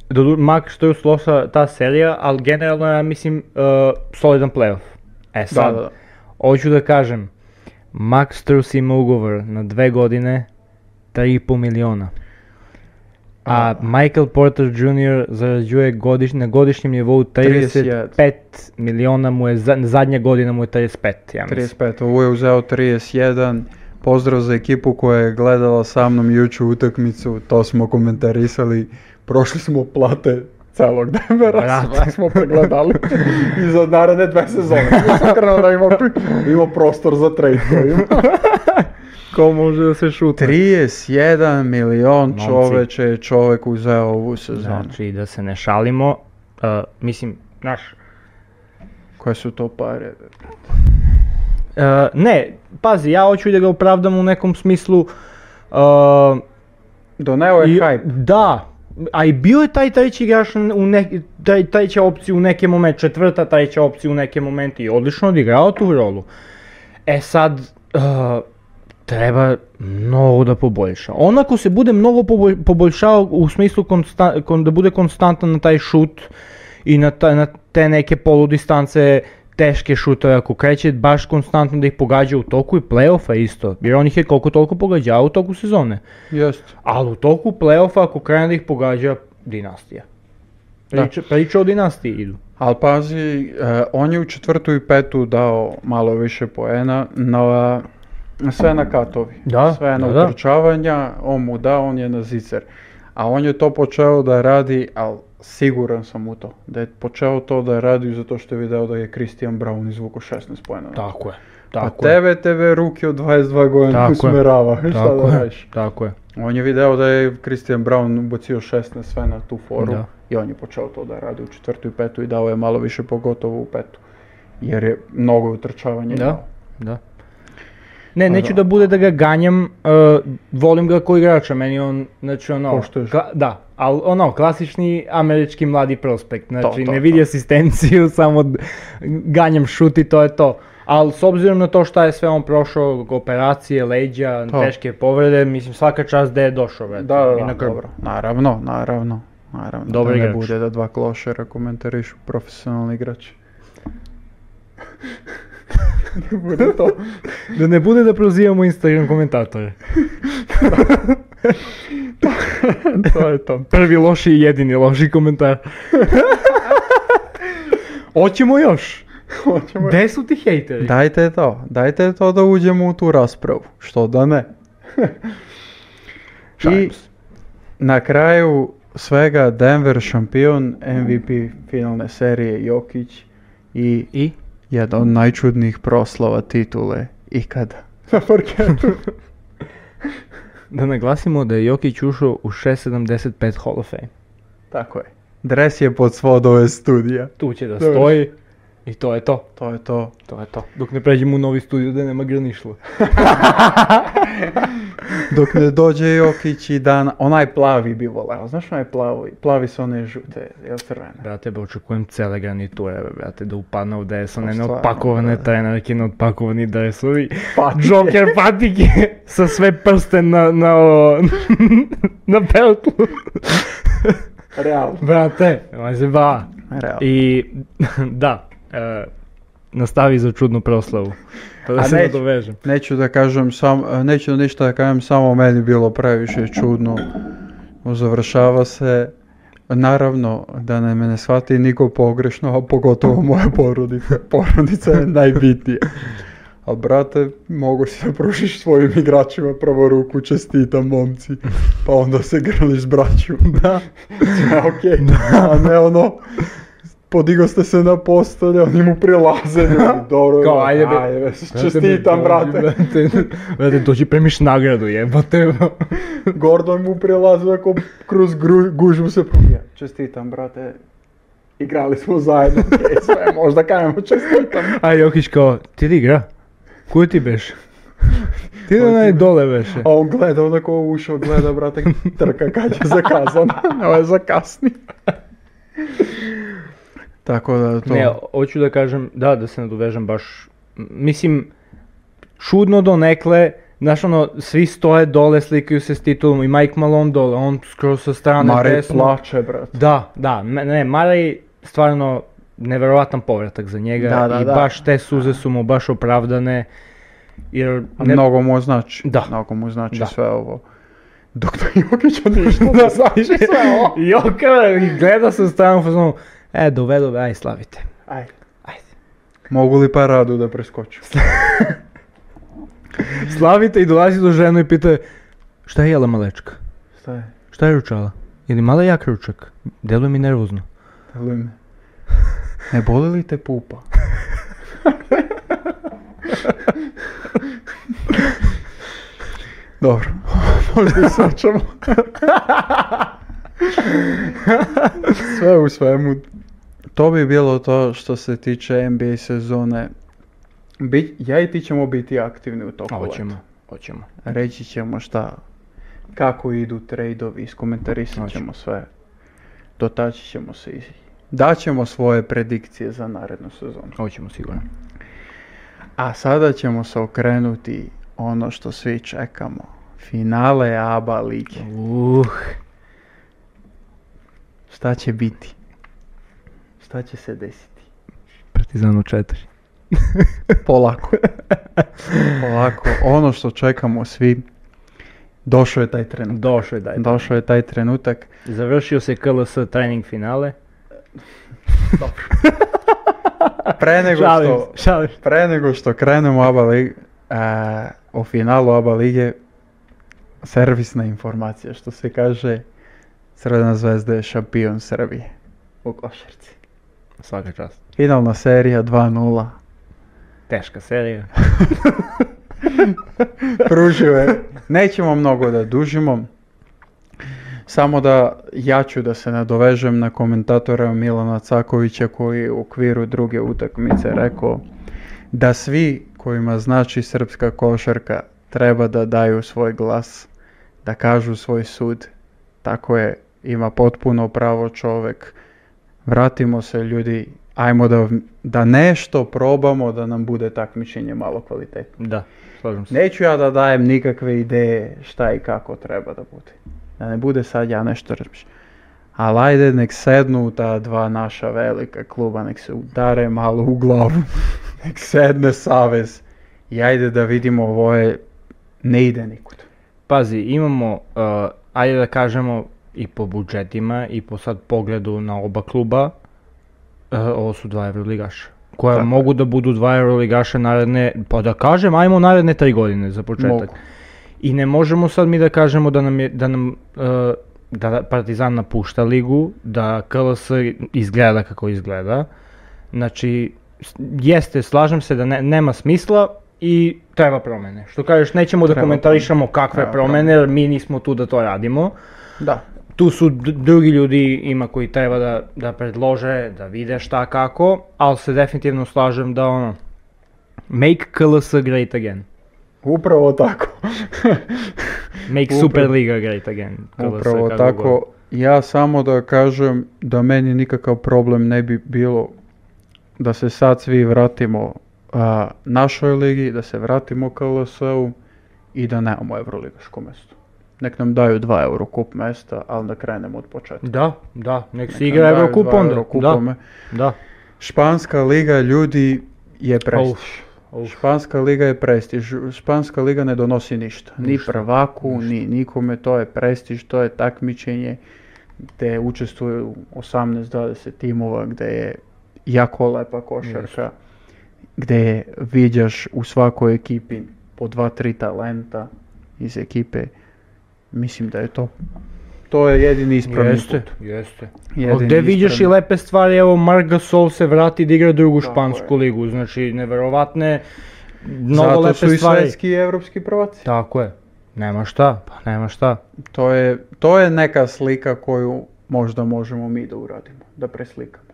Speaker 2: dodu- mak što je usloša ta serija, ali generalno ja mislim e, solidan playoff. E
Speaker 1: da,
Speaker 2: sad,
Speaker 1: da, da.
Speaker 2: hoću da kažem, Max Strus ima ugovor na dve godine, 3,5 miliona. A Michael Porter Jr. zarađuje godiš, na godišnjem nivou
Speaker 1: 31.
Speaker 2: 35 miliona mu je, za- zadnja godina mu je 35, ja mislim.
Speaker 1: 35, ovo je uzeo 31. Pozdrav za ekipu koja je gledala sa mnom juču utakmicu, to smo komentarisali. Prošli smo plate celog Denvera,
Speaker 2: Brate.
Speaker 1: sve smo pregledali i za naredne dve sezone. Nisam krenuo da ima, pri- ima prostor za trade koji ima.
Speaker 2: Ko može da se šuta?
Speaker 1: 31 milion
Speaker 2: Momci.
Speaker 1: čoveče je čovek uzeo ovu sezonu.
Speaker 2: Znači, da se ne šalimo, uh, mislim, znaš,
Speaker 1: Koje su to pare?
Speaker 2: uh, ne, pazi, ja hoću i da ga opravdam u nekom smislu, uh,
Speaker 1: Doneo je
Speaker 2: i-
Speaker 1: hype.
Speaker 2: da, a i bio je taj treći igrač u neki, taj, treća opcija u neke momente, četvrta treća opcija u neke momente i odlično odigrao tu rolu. E sad, uh, treba mnogo da poboljša. On ako se bude mnogo pobolj- poboljšao u smislu konsta- kon- da bude konstantan na taj šut i na, ta- na te neke poludistance teške šutove, ako kreće baš konstantno da ih pogađa u toku i playoffa isto, jer on ih je koliko toliko pogađao u toku sezone.
Speaker 1: Jeste.
Speaker 2: Ali u toku playoffa ako krene da ih pogađa dinastija. Priča, priča o dinastiji idu.
Speaker 1: Ali pazi, eh, on je u četvrtu i petu dao malo više poena na sve na katovi.
Speaker 2: Da,
Speaker 1: sve na
Speaker 2: da, da.
Speaker 1: utrčavanja, on mu da, on je na zicer. A on je to počeo da radi, ali siguran sam u to, da je počeo to da radi zato što je video da je Christian Brown izvukao 16 poena.
Speaker 2: Tako je.
Speaker 1: Pa
Speaker 2: Tako je.
Speaker 1: tebe, tebe ruke od 22 godina
Speaker 2: Tako je.
Speaker 1: usmerava, šta
Speaker 2: Tako
Speaker 1: da
Speaker 2: je,
Speaker 1: radiš?
Speaker 2: Tako je.
Speaker 1: On je video da je Christian Brown ubacio 16 sve na tu foru
Speaker 2: Da.
Speaker 1: i on je počeo to da radi u četvrtu i petu i dao je malo više pogotovo u petu. Jer je mnogo utrčavanja. imao.
Speaker 2: Da, da. Ne, neću da bude da ga ganjam, eh, volim ga kao igrača, meni on, znači ono...
Speaker 1: Poštuješ.
Speaker 2: kla- da, ali ono, klasični američki mladi prospekt, znači
Speaker 1: to,
Speaker 2: ne vidi
Speaker 1: to.
Speaker 2: asistenciju, samo d- ganjam šut i to je to. Ali s obzirom na to šta je sve on prošao, operacije, leđa,
Speaker 1: To.
Speaker 2: teške povrede, mislim svaka čast da je došao, brate.
Speaker 1: Da, da,
Speaker 2: I na
Speaker 1: da,
Speaker 2: krv.
Speaker 1: dobro. Naravno, naravno. Naravno,
Speaker 2: Dobar
Speaker 1: da ne
Speaker 2: igrač.
Speaker 1: bude da dva klošera komentarišu profesionalni igrači. ne bude to.
Speaker 2: Da ne bude da prozivamo Instagram komentatore.
Speaker 1: to je to.
Speaker 2: Prvi loši i jedini loši komentar. Hoćemo još.
Speaker 1: Hoćemo-
Speaker 2: Gde su ti hejteri?
Speaker 1: Dajte to, dajte to da uđemo u tu raspravu, što da ne. I
Speaker 2: Šalim se.
Speaker 1: na kraju svega Denver šampion, MVP finalne serije Jokić i,
Speaker 2: I?
Speaker 1: jedan od najčudnijih proslava titule ikada. Na parketu.
Speaker 2: Da naglasimo da je Jokić ušao u 6.75 Hall of Fame.
Speaker 1: Tako je. Dres je pod svod ove studija.
Speaker 2: Tu će da
Speaker 1: Dobro.
Speaker 2: stoji i to je to.
Speaker 1: To je to.
Speaker 2: To je to. Dok ne pređemo u novi studio da nema granišla.
Speaker 1: Dok ne dođe Jokić i dan, onaj plavi bi voleo. Znaš onaj plavi? Plavi su one žute, jel crvene?
Speaker 2: Brate, ba, očekujem cele garniture, bе, brate, da upadne u DS,
Speaker 1: Pa
Speaker 2: one
Speaker 1: stvarno,
Speaker 2: neotpakovane
Speaker 1: brate.
Speaker 2: trenerke, neotpakovani dresovi,
Speaker 1: Patike.
Speaker 2: Joker patike sa sve prste na, na, ovo- na peltlu.
Speaker 1: Realno.
Speaker 2: Brate, on se ba.
Speaker 1: Realno.
Speaker 2: I da, e, nastavi za čudnu proslavu. Pa da
Speaker 1: A
Speaker 2: se
Speaker 1: neću.
Speaker 2: nadovežem.
Speaker 1: Neću da kažem sam, e, neću ništa da kažem, samo meni bilo previše čudno. Završava se, naravno da ne me ne shvati niko pogrešno, a pogotovo moja porodica. Porodica je najbitnija. A brate, mogu si da pružiš svojim igračima prvo ruku, čestitam momci, pa onda se grliš s braćom.
Speaker 2: Da.
Speaker 1: Sve okej, a ne ono, podigo ste se na postolje, oni mu prilaze, ljudi, dobro,
Speaker 2: Kao,
Speaker 1: brate,
Speaker 2: ajde, be-
Speaker 1: ajde, čestitam brate.
Speaker 2: Brate, brate, to će premiš nagradu, jebate.
Speaker 1: Gordon mu prilazi ako kroz gru, gužvu se probija. Čestitam, brate. Igrali smo zajedno, okej, sve, možda kajemo čestitam.
Speaker 2: A Jokić kao, ti di igra? Kuj ti beš? Ti da naj dole beše.
Speaker 1: A on gleda, onako ušao, gleda, brate, trka kad je zakazan. Ovo je zakasni. Tako da to...
Speaker 2: Ne, hoću da kažem, da, da se nadovežem baš, m- mislim, čudno donekle, znaš ono, svi stoje dole, slikaju se s titulom i Mike Malone dole, on skroz sa strane
Speaker 1: Mare
Speaker 2: desno.
Speaker 1: plače, brate.
Speaker 2: Da, da, ne, ne Marej stvarno neverovatan povratak za njega
Speaker 1: Da, da,
Speaker 2: i
Speaker 1: da.
Speaker 2: baš te suze su mu baš opravdane. Jer
Speaker 1: A
Speaker 2: ne,
Speaker 1: Mnogo mu znači.
Speaker 2: Da.
Speaker 1: Mnogo mu znači
Speaker 2: Da.
Speaker 1: sve ovo. Dok da Jokić od ništa ne znači sve ovo.
Speaker 2: Joka, i gleda se u stranu u fazonu, e, dovedo ga, aj slavite.
Speaker 1: Ajde.
Speaker 2: Ajde.
Speaker 1: Mogu li paradu da preskoču?
Speaker 2: Slavite i dolazi do žene i pita, je, šta je jela malečka?
Speaker 1: Šta je?
Speaker 2: Šta je ručala? Ili mala jak ručak? Deluje mi nervozno.
Speaker 1: Deluj me. Ne boli li te pupa? Dobro, možda i sačemo. Sve u svemu. To bi bilo to što se tiče NBA sezone. Bi, ja i ti ćemo biti aktivni u toku. leta.
Speaker 2: hoćemo.
Speaker 1: Reći ćemo šta, kako idu trade-ovi, iskomentarisit
Speaker 2: Hoće.
Speaker 1: ćemo sve. Dotaći ćemo se i daćemo svoje predikcije za narednu sezonu.
Speaker 2: Hoćemo sigurno.
Speaker 1: A sada ćemo se okrenuti ono što svi čekamo. Finale ABA lige.
Speaker 2: Uh,
Speaker 1: Šta će biti? Šta će se desiti?
Speaker 2: Partizanu 4.
Speaker 1: Polako. Polako. Ono što čekamo svi. Došao je taj trenutak.
Speaker 2: Došao je daj.
Speaker 1: Došao je taj trenutak.
Speaker 2: Završio se KLS trening finale.
Speaker 1: Pre nego
Speaker 2: šalim,
Speaker 1: što,
Speaker 2: se, šalim. se.
Speaker 1: pre nego što krenemo u ABA lig, e, o finalu ABA lige, servisna informacija, što se kaže, Crvena zvezda je šampion Srbije u košarci.
Speaker 2: Svaka čast.
Speaker 1: Finalna serija 2-0.
Speaker 2: Teška serija.
Speaker 1: Pružio je. Nećemo mnogo da dužimo. Samo da ja ću da se nadovežem na komentatora Milana Cakovića koji je u okviru druge utakmice rekao da svi kojima znači srpska košarka treba da daju svoj glas, da kažu svoj sud. Tako je, ima potpuno pravo čovek. Vratimo se ljudi, ajmo da, da nešto probamo da nam bude takmičenje malo kvalitetno.
Speaker 2: Da, slažem se.
Speaker 1: Neću ja da dajem nikakve ideje šta i kako treba da bude. Da ne bude sad ja nešto rpiš. Ali ajde nek sednu ta dva naša velika kluba, nek se udare malo u glavu, nek sedne savez i ajde da vidimo ovo je, ne ide nikud.
Speaker 2: Pazi, imamo, uh, ajde da kažemo, i po budžetima i po sad pogledu na oba kluba, uh, ovo su dva evroligaša. Koja
Speaker 1: Tako je.
Speaker 2: mogu da budu dva evroligaša naredne, pa da kažem, ajmo naredne tri godine za početak.
Speaker 1: Mogu.
Speaker 2: I ne možemo sad mi da kažemo da nam je, da nam, uh, da Partizan napušta ligu, da KLS izgleda kako izgleda. Znači, s- jeste, slažem se da ne, nema smisla i treba promene. Što kažeš, nećemo da
Speaker 1: Treba
Speaker 2: komentarišemo kakve
Speaker 1: Treba
Speaker 2: promene, jer mi nismo tu da to radimo.
Speaker 1: Da.
Speaker 2: Tu su d- drugi ljudi ima koji treba da, da predlože, da vide šta kako, ali se definitivno slažem da ono, make KLS great again.
Speaker 1: Upravo tako.
Speaker 2: Make
Speaker 1: Upravo-
Speaker 2: Superliga great again. KLS,
Speaker 1: Upravo
Speaker 2: kako god.
Speaker 1: tako. Ja samo da kažem da meni nikakav problem ne bi bilo da se sad svi vratimo a, našoj ligi, da se vratimo KLS-u i da nemamo evroligaško mesto. Nek nam daju dva eurokup mesta, ali da krenemo od početka.
Speaker 2: Da, da, nek se
Speaker 1: Nek
Speaker 2: igra
Speaker 1: nam daju
Speaker 2: Eurocup
Speaker 1: dva
Speaker 2: onda.
Speaker 1: Eurokupa
Speaker 2: Da,
Speaker 1: me-
Speaker 2: da.
Speaker 1: Španska liga ljudi je prestiž.
Speaker 2: Uf, uf.
Speaker 1: Španska liga je prestiž. Španska liga ne donosi ništa. Ni
Speaker 2: Ništa,
Speaker 1: prvaku, ni nikome. To je prestiž, to je takmičenje gde učestvuju 18-20 timova, gde je jako lepa košarka, gde viđaš u svakoj ekipi po dva, tri talenta iz ekipe. Mislim da je to to je jedini ispravni
Speaker 2: Jeste,
Speaker 1: put.
Speaker 2: jeste.
Speaker 1: Jedini
Speaker 2: Gde vidiš i
Speaker 1: ispravni-
Speaker 2: lepe stvari, evo Marc Gasol se vrati da igra drugu
Speaker 1: Tako
Speaker 2: špansku
Speaker 1: je.
Speaker 2: ligu, znači neverovatne, mnogo
Speaker 1: Zato su
Speaker 2: lepe
Speaker 1: i
Speaker 2: stvari.
Speaker 1: svetski i evropski prvaci.
Speaker 2: Tako je, nema šta, pa nema šta.
Speaker 1: To je, to je neka slika koju možda možemo mi da uradimo, da preslikamo.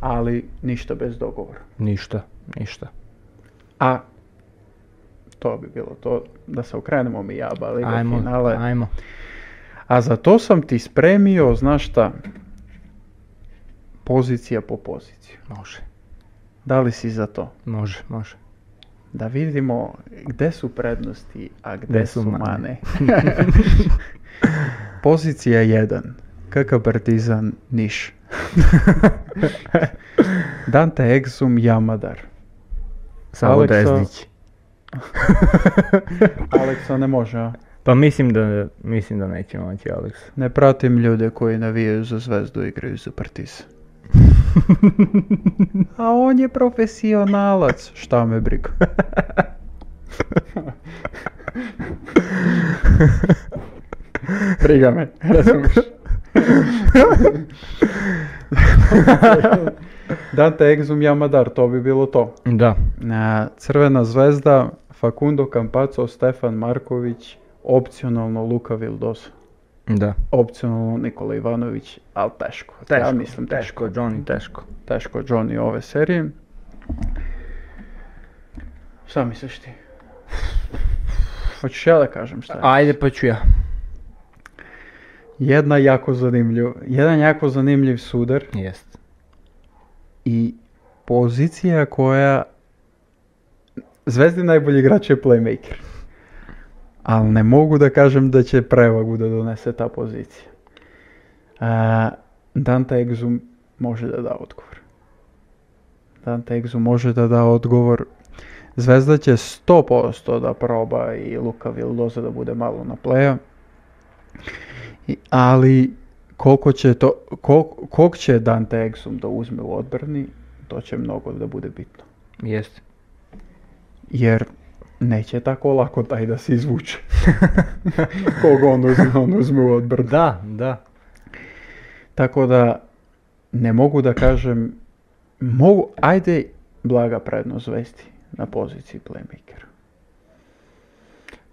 Speaker 1: Ali ništa bez dogovora.
Speaker 2: Ništa, ništa.
Speaker 1: A to bi bilo to da se okrenemo mi jaba liga
Speaker 2: Ajmo,
Speaker 1: finale.
Speaker 2: ajmo.
Speaker 1: A za to sam ti spremio, znaš šta, pozicija po poziciju.
Speaker 2: Može,
Speaker 1: Da li si za to?
Speaker 2: može, može.
Speaker 1: Da vidimo gde su prednosti, a gde,
Speaker 2: Gde su
Speaker 1: su mane.
Speaker 2: mane.
Speaker 1: Pozicija 1. KK Partizan Niš. Dante Exum Jamadar.
Speaker 2: Samo
Speaker 1: Aleksa-
Speaker 2: Drezdić.
Speaker 1: Aleksa ne može, a?
Speaker 2: Pa mislim da, mislim da neće moći Aleksa.
Speaker 1: Ne pratim ljude koji navijaju za zvezdu i igraju za Partizan. A on je profesionalac. Šta me briga? briga me, razumiješ? Dante Exum Yamadar, to bi bilo to.
Speaker 2: Da,
Speaker 1: Na Crvena zvezda, Facundo Campaco, Stefan Marković, opcionalno Luka Vildosa.
Speaker 2: da.
Speaker 1: Opcionalno Nikola Ivanović, ali teško. ja mislim teško.
Speaker 2: Johnny, teško.
Speaker 1: Teško Johnny ove serije. Šta misliš ti? Hoćeš ja da kažem šta je?
Speaker 2: Ajde pa ću ja.
Speaker 1: Jedna jako zanimljiv, jedan jako zanimljiv sudar
Speaker 2: Jest.
Speaker 1: i pozicija koja... Zvezdi najbolji igrač je playmaker. Ali ne mogu da kažem da će prevagu da donese ta pozicija. A, Dante Exum može da da odgovor. Dante Exum može da da odgovor. Zvezda će 100% da proba i Luka Vildoza da bude malo na pleja. I- Ali Koliko će to, koliko, koliko će Dante Exum da uzme u odbrani, to će mnogo da bude bitno.
Speaker 2: Jeste.
Speaker 1: Jer neće tako lako taj da se izvuče. Koga on uzme, on uzme u odbranu.
Speaker 2: Da, da.
Speaker 1: Tako da ne mogu da kažem, mogu, ajde blaga prednost vesti na poziciji playmakera.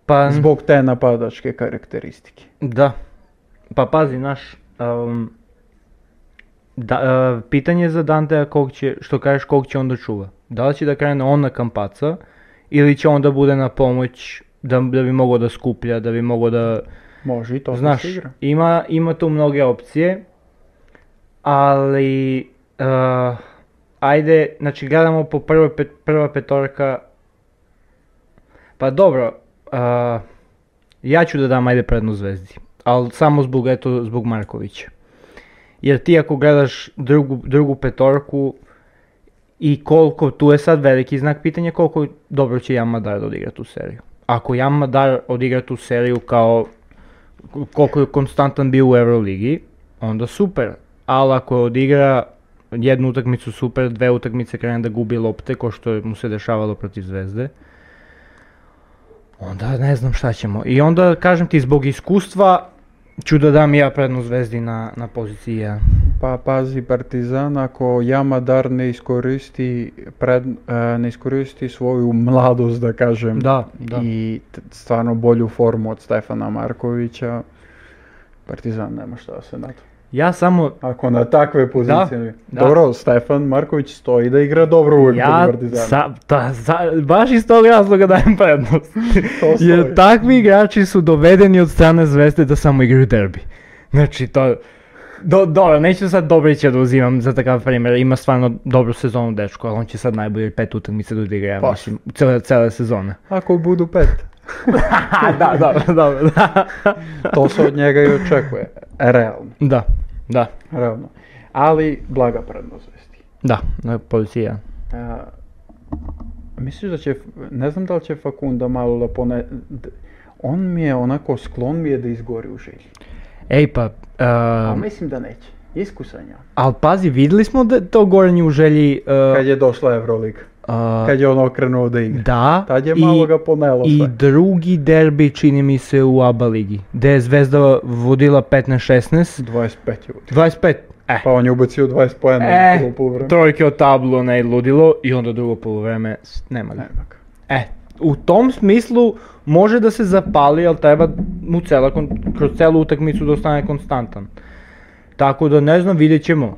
Speaker 2: Pa,
Speaker 1: Zbog te napadačke karakteristike.
Speaker 2: Da. Pa pazi, naš... da, uh, pitanje za Dantea kog će, što kažeš kog će on da čuva. Da li će da krene on na kampaca ili će on da bude na pomoć da, da bi mogao da skuplja, da bi mogao da...
Speaker 1: Može i to
Speaker 2: Znaš,
Speaker 1: se igra.
Speaker 2: ima, ima tu mnoge opcije, ali uh, ajde, znači gledamo po prvoj pet, prva petorka, pa dobro, uh, ja ću da dam ajde prednost zvezdi, ali samo zbog, eto, zbog Markovića. Jer ti ako gledaš drugu, drugu petorku i koliko, tu je sad veliki znak pitanja koliko dobro će Jamadar da odigra tu seriju. Ako Jamadar odigra tu seriju kao koliko je konstantan bio u Euroligi, onda super. Ali ako odigra jednu utakmicu super, dve utakmice krene da gubi lopte, ko što je mu se dešavalo protiv Zvezde, onda ne znam šta ćemo. I onda, kažem ti, zbog iskustva, ću da dam ja prednost Zvezdi na, na poziciji 1.
Speaker 1: Pa pazi Partizan, ako Jamadar ne iskoristi, pred, e, ne iskoristi svoju mladost, da kažem,
Speaker 2: Da, da.
Speaker 1: i t- stvarno bolju formu od Stefana Markovića, Partizan nema šta da se nada.
Speaker 2: Ja samo,
Speaker 1: Ako na takve pozicije...
Speaker 2: da.
Speaker 1: Dobro, Stefan Marković stoji da igra dobro uvijek
Speaker 2: ja,
Speaker 1: protiv Partizana.
Speaker 2: sa, ta, sa- baš iz tog razloga dajem prednost.
Speaker 1: To stoji.
Speaker 2: Jer takvi igrači su dovedeni od strane zvezde da samo igraju derbi. Znači to... Do, dobro, neću sad Dobrića da uzimam za takav primjer, ima stvarno dobru sezonu dečko, ali on će sad najbolje pet utakmica da odigra, ja
Speaker 1: Pa.
Speaker 2: mislim, cele, cele sezone.
Speaker 1: Ako budu pet,
Speaker 2: Ha, da, dobro, dobro, da.
Speaker 1: to se od njega i očekuje. Realno,
Speaker 2: Da, da,
Speaker 1: realno. Ali, blaga prednost vesti.
Speaker 2: da, e, na poziciji jedan.
Speaker 1: A, misliš da će, ne znam da li će Fakunda malo da pone... d- On mi je onako, sklon mi je da izgori u želji.
Speaker 2: Ej pa,
Speaker 1: A
Speaker 2: uh,
Speaker 1: mislim da neće. Iskusan je. on.
Speaker 2: ali pazi, vidjeli smo da je to gorenje u želji, uh,
Speaker 1: Kad je došla Euroliga,
Speaker 2: uh,
Speaker 1: kad je ono krenuo da igra.
Speaker 2: da,
Speaker 1: Tad je
Speaker 2: i-
Speaker 1: malo ga ponelo
Speaker 2: I
Speaker 1: sve.
Speaker 2: drugi derbi čini mi se u ABA ligi, gde je Zvezda vodila 15-16,
Speaker 1: 25 ljudi.
Speaker 2: 25, eh,
Speaker 1: Pa on je ubacio 20 pojena
Speaker 2: eh,
Speaker 1: u poluvreme.
Speaker 2: trojke od tablu ne ludilo i onda drugo polovreme, s- nema ga.
Speaker 1: Nema ga.
Speaker 2: E, u tom smislu može da se zapali, ali treba mu cela, kon- kroz celu utakmicu da ostane konstantan. Tako da ne znam, vidjet ćemo.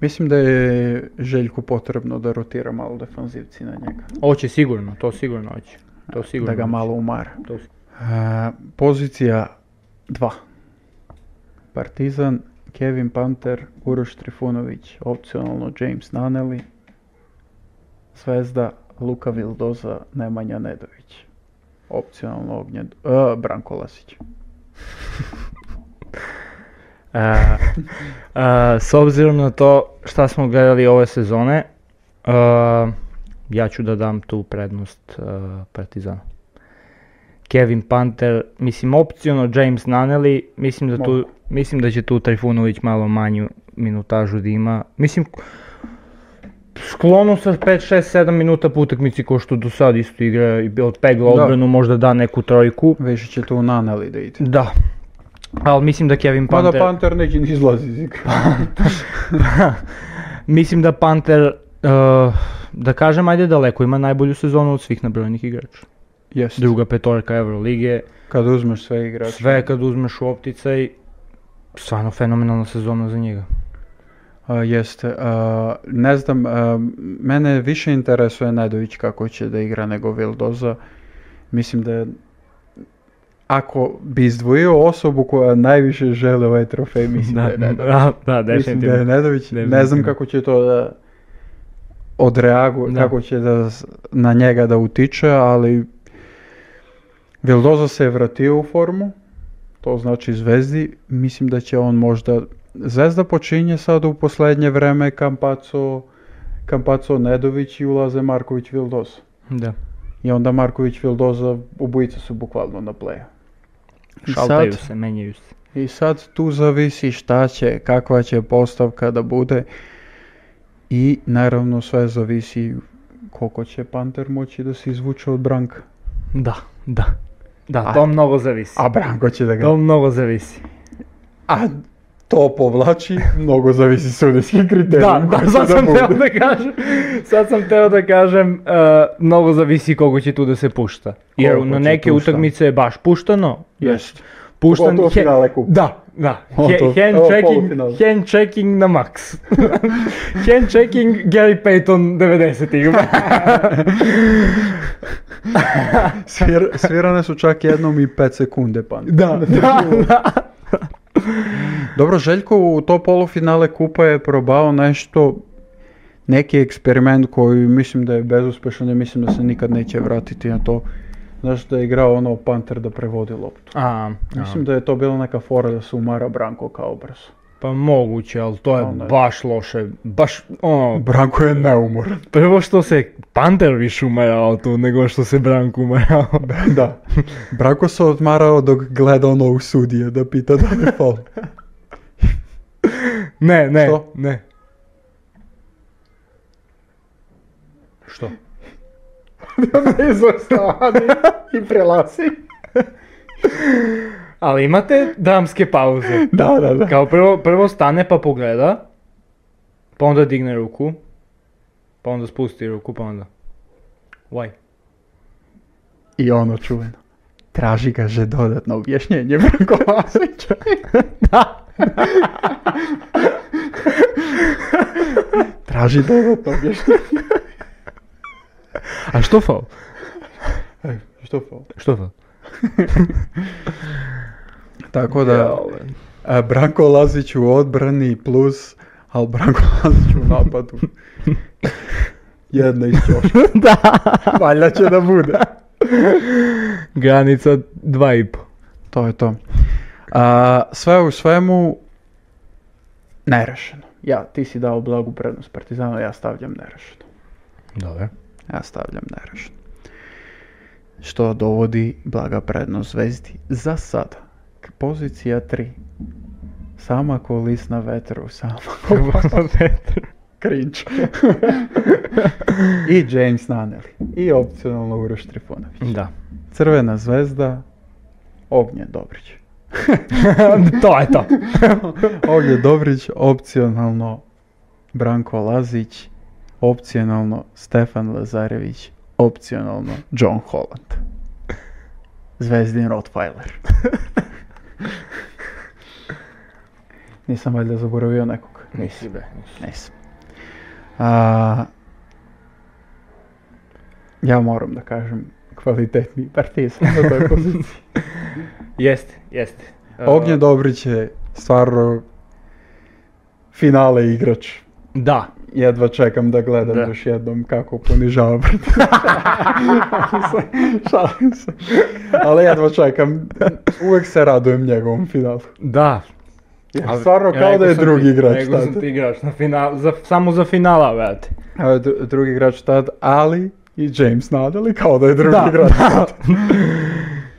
Speaker 1: Mislim da je Željku potrebno da rotira malo defanzivci na njega.
Speaker 2: Oće sigurno, to sigurno hoće. To sigurno
Speaker 1: da ga
Speaker 2: hoće.
Speaker 1: malo umara.
Speaker 2: To si-
Speaker 1: A, pozicija 2. Partizan, Kevin Panter, Uroš Trifunović, opcionalno James Naneli, Zvezda, Luka Vildoza, Nemanja Nedović. Opcionalno Ognjen, e, Branko Lasić.
Speaker 2: A, a, E, s obzirom na to šta smo gledali ove sezone, a, ja ću da dam tu prednost a, Partizanu. Kevin Panter, mislim opciono James Naneli, mislim da, tu,
Speaker 1: Mogu.
Speaker 2: mislim da će tu Trifunović malo manju minutažu da ima. Mislim, sklonu sa 5, 6, 7 minuta po utakmici ko što do sad isto igra i od pegla
Speaker 1: Da.
Speaker 2: odbranu možda da neku trojku.
Speaker 1: Više će tu Naneli da ide.
Speaker 2: Da, ali mislim da Kevin
Speaker 1: Pa da
Speaker 2: Panter...
Speaker 1: Panter neće ni izlazi iz igre.
Speaker 2: Mislim da Panter, eh, da kažem, ajde daleko, ima najbolju sezonu od svih nabrojenih igrača.
Speaker 1: Jest.
Speaker 2: Druga petorka Evrolige,
Speaker 1: Kad uzmeš sve igrače.
Speaker 2: sve kad uzmeš u opticaj, stvarno fenomenalna sezona za njega.
Speaker 1: A, jeste. A, ne znam, a, mene više interesuje Nedović kako će da igra nego Vildoza. Mislim da je- ako bi izdvojio osobu koja najviše žele ovaj trofej, mislim da, je Nedović.
Speaker 2: da, da,
Speaker 1: Mislim da je
Speaker 2: definitivno.
Speaker 1: Nedović. Ne znam
Speaker 2: Definitivno.
Speaker 1: kako će to da odreaguje,
Speaker 2: Da.
Speaker 1: kako će da s- na njega da utiče, ali Vildoza se je vratio u formu, to znači Zvezdi, mislim da će on možda, Zvezda počinje sad u posljednje vreme Kampaco, Kampaco Nedović i ulaze Marković Vildoza.
Speaker 2: Da.
Speaker 1: I onda Marković Vildoza, obojica su bukvalno na pleju. I
Speaker 2: Šaltaju
Speaker 1: sad-
Speaker 2: se, menjaju se.
Speaker 1: I sad tu zavisi šta će, kakva će postavka da bude i naravno sve zavisi koliko će Panter moći da se izvuče od Branka.
Speaker 2: Da, da. Da,
Speaker 1: A-
Speaker 2: to mnogo zavisi.
Speaker 1: A Branko će da ga...
Speaker 2: To mnogo zavisi.
Speaker 1: A to povlači, mnogo zavisi sudijski kriterij.
Speaker 2: Da, da, sad sam teo da kažem, sad sam teo da kažem, uh, mnogo zavisi koliko će tu da se pušta. Jer
Speaker 1: Koliko
Speaker 2: na
Speaker 1: će
Speaker 2: neke
Speaker 1: pušta.
Speaker 2: utakmice je baš puštano.
Speaker 1: Jest.
Speaker 2: Puštan,
Speaker 1: Pogotovo
Speaker 2: he-
Speaker 1: finale kupa.
Speaker 2: Da, da.
Speaker 1: Ovo
Speaker 2: He-
Speaker 1: to-
Speaker 2: hand,
Speaker 1: ovo
Speaker 2: checking,
Speaker 1: polufinale.
Speaker 2: hand checking na maks. hand checking Gary Payton 90-ih.
Speaker 1: Svir, svirane su čak jednom i 5 sekunde pan.
Speaker 2: da, da, da.
Speaker 1: Dobro, Željko u to polufinale kupa je probao nešto, neki eksperiment koji mislim da je bezuspešan i mislim da se nikad neće vratiti na to. Znaš da je igrao ono Panter da prevodi loptu.
Speaker 2: A,
Speaker 1: Mislim da je to bila neka fora da se umara Branko kao brzo.
Speaker 2: pa moguće, ali to je
Speaker 1: Onda je-
Speaker 2: baš loše. Baš, ono,
Speaker 1: Branko je neumoran.
Speaker 2: prvo što se Panter više umarao tu nego što se Branko umarao.
Speaker 1: da. Branko se odmarao dok gleda onog sudije da pita da li je faul.
Speaker 2: Ne, ne,
Speaker 1: Što?
Speaker 2: ne. Što?
Speaker 1: i prelazi.
Speaker 2: Ali imate dramske pauze.
Speaker 1: Da, da, da.
Speaker 2: Kao prvo, prvo stane pa pogleda, pa onda digne ruku, pa onda spusti ruku, pa onda... Why?
Speaker 1: I ono čuveno. Traži ga že dodatno objašnjenje Branko Vasića.
Speaker 2: Da!
Speaker 1: Traži dodatno objašnjenje.
Speaker 2: A što faul?
Speaker 1: E, što faul?
Speaker 2: Što faul?
Speaker 1: Tako da, e, Branko Lazić u odbrani plus, ali Branko Lazić u napadu. Jedna iz ćoška.
Speaker 2: da!
Speaker 1: Valjda će da bude.
Speaker 2: Granica dva i po.
Speaker 1: To je to. A, sve u svemu, nerešeno. Ja, ti si dao blagu prednost Partizanu, ja stavljam nerešeno.
Speaker 2: Dobro.
Speaker 1: Ja stavljam nerešeno. Što dovodi blaga prednost Zvezdi za sada. K- Pozicija 3. Sama ko lis na vetru, sama ko cringe. I James Naneli. I opcionalno Uroš Trifunović.
Speaker 2: da.
Speaker 1: Crvena zvezda, Ognje Dobrić.
Speaker 2: to je to.
Speaker 1: Ognje Dobrić, opcionalno Branko Lazić, opcionalno Stefan Lazarević, opcionalno John Holland. Zvezdin Rottweiler. Nisam valjda zaboravio nekog.
Speaker 2: Nisi bre.
Speaker 1: Nisam. A, ja moram da kažem kvalitetni partizan na toj poziciji.
Speaker 2: Jeste, jeste. E,
Speaker 1: Ognjen Dobrić je stvarno finale igrač.
Speaker 2: Da.
Speaker 1: Jedva čekam da gledam
Speaker 2: Da.
Speaker 1: još jednom kako ponižava Partizan. Šalim se. Ali jedva čekam. Uvijek se radujem njegovom finalu.
Speaker 2: Da.
Speaker 1: Jer
Speaker 2: Ali-
Speaker 1: stvarno
Speaker 2: Ja
Speaker 1: kao da
Speaker 2: rekao
Speaker 1: je
Speaker 2: sam
Speaker 1: drugi
Speaker 2: ti-
Speaker 1: igrač.
Speaker 2: Rekao
Speaker 1: tad.
Speaker 2: sam ti igrač na final, za, samo za finala, brate.
Speaker 1: A, dru- drugi igrač tad, ali i James Nadali kao da je drugi igrač. tad.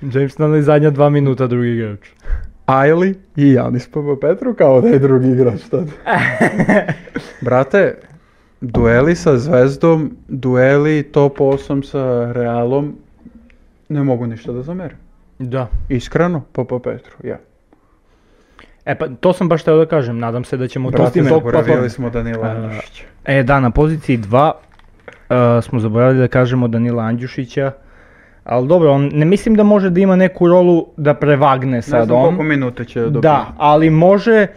Speaker 2: James Nunley zadnja dva minuta drugi igrač.
Speaker 1: Ajli i Janis Petru kao da je drugi igrač tad. Brate, dueli sa Zvezdom, dueli top 8 sa Realom, ne mogu ništa da zamerim.
Speaker 2: da.
Speaker 1: Iskreno, Papa Petru, ja.
Speaker 2: E pa to sam baš teo da kažem, nadam se da ćemo to
Speaker 1: Brate,
Speaker 2: time...
Speaker 1: zaboravili smo Danila
Speaker 2: A,
Speaker 1: Andrušića.
Speaker 2: E da, na poziciji 2 smo zaboravili da kažemo Danila Andjušića. Ali dobro, on, ne mislim da može da ima neku rolu da prevagne sad
Speaker 1: Ne znam
Speaker 2: on.
Speaker 1: koliko minuta će dobiti.
Speaker 2: Da, ali može, e,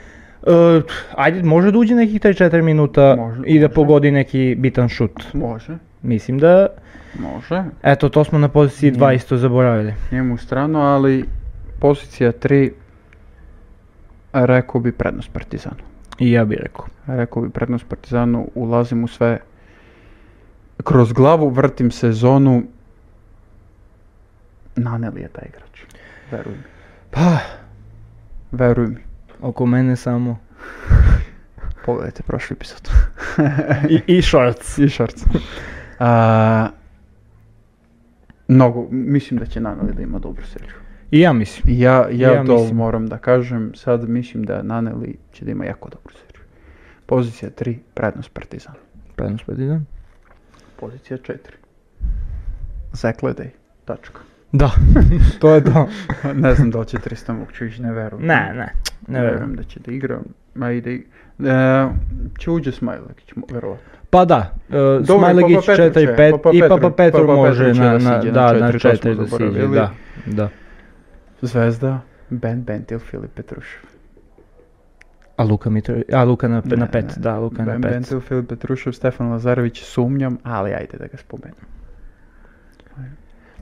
Speaker 2: ajde, može da uđe nekih 3-4 minuta
Speaker 1: Može,
Speaker 2: i da
Speaker 1: može.
Speaker 2: pogodi neki bitan šut.
Speaker 1: Može,
Speaker 2: Mislim da,
Speaker 1: može.
Speaker 2: eto, to smo na poziciji 2 isto zaboravili.
Speaker 1: Njemu strano, ali pozicija 3, rekao bi prednost Partizanu.
Speaker 2: I ja bih rekao.
Speaker 1: rekao bi prednost Partizanu, ulazim u sve kroz glavu, vrtim sezonu, naneli je taj igrač, veruj mi,
Speaker 2: Pa,
Speaker 1: veruj mi,
Speaker 2: oko mene samo.
Speaker 1: pogledajte prošli epizod.
Speaker 2: I, i shorts.
Speaker 1: I šarc. A, mnogo, mislim da će naneli da ima dobru seriju.
Speaker 2: I ja mislim.
Speaker 1: Ja, ja,
Speaker 2: Ja
Speaker 1: to
Speaker 2: mislim.
Speaker 1: moram da kažem. Sad mislim da Naneli će da ima jako dobru seriju. Pozicija 3, prednost Partizan.
Speaker 2: Prednost
Speaker 1: pa
Speaker 2: Partizan.
Speaker 1: Pozicija 4. Zakledaj. Tačka.
Speaker 2: Da, to je to.
Speaker 1: ne znam da li će Tristan Vukčević, ne verujem.
Speaker 2: Ne, ne, ne verujem.
Speaker 1: da će da igra. Ma i da ig- E, će uđe Smajlekić, mo- verovatno.
Speaker 2: Pa da, uh,
Speaker 1: Dobro,
Speaker 2: Smajlegić
Speaker 1: Papa Petru
Speaker 2: 4
Speaker 1: će,
Speaker 2: 5
Speaker 1: Papa
Speaker 2: i
Speaker 1: Petru-
Speaker 2: Papa Petru
Speaker 1: Papa
Speaker 2: može
Speaker 1: Petru će
Speaker 2: na,
Speaker 1: da
Speaker 2: na,
Speaker 1: siđe
Speaker 2: da,
Speaker 1: na
Speaker 2: na
Speaker 1: četiri, to
Speaker 2: 4
Speaker 1: smo
Speaker 2: da siđe,
Speaker 1: zaboravili.
Speaker 2: da, da.
Speaker 1: Zvezda, Ben Bentil, Filip Petrušev.
Speaker 2: A Luka Mitrović, a Luka na, na
Speaker 1: Ne,
Speaker 2: 5,
Speaker 1: ne.
Speaker 2: da, Luka na
Speaker 1: ben
Speaker 2: 5.
Speaker 1: Bentil, Filip Petrušev, Stefan Lazarević, sumnjam, ali ajde da ga spomenem.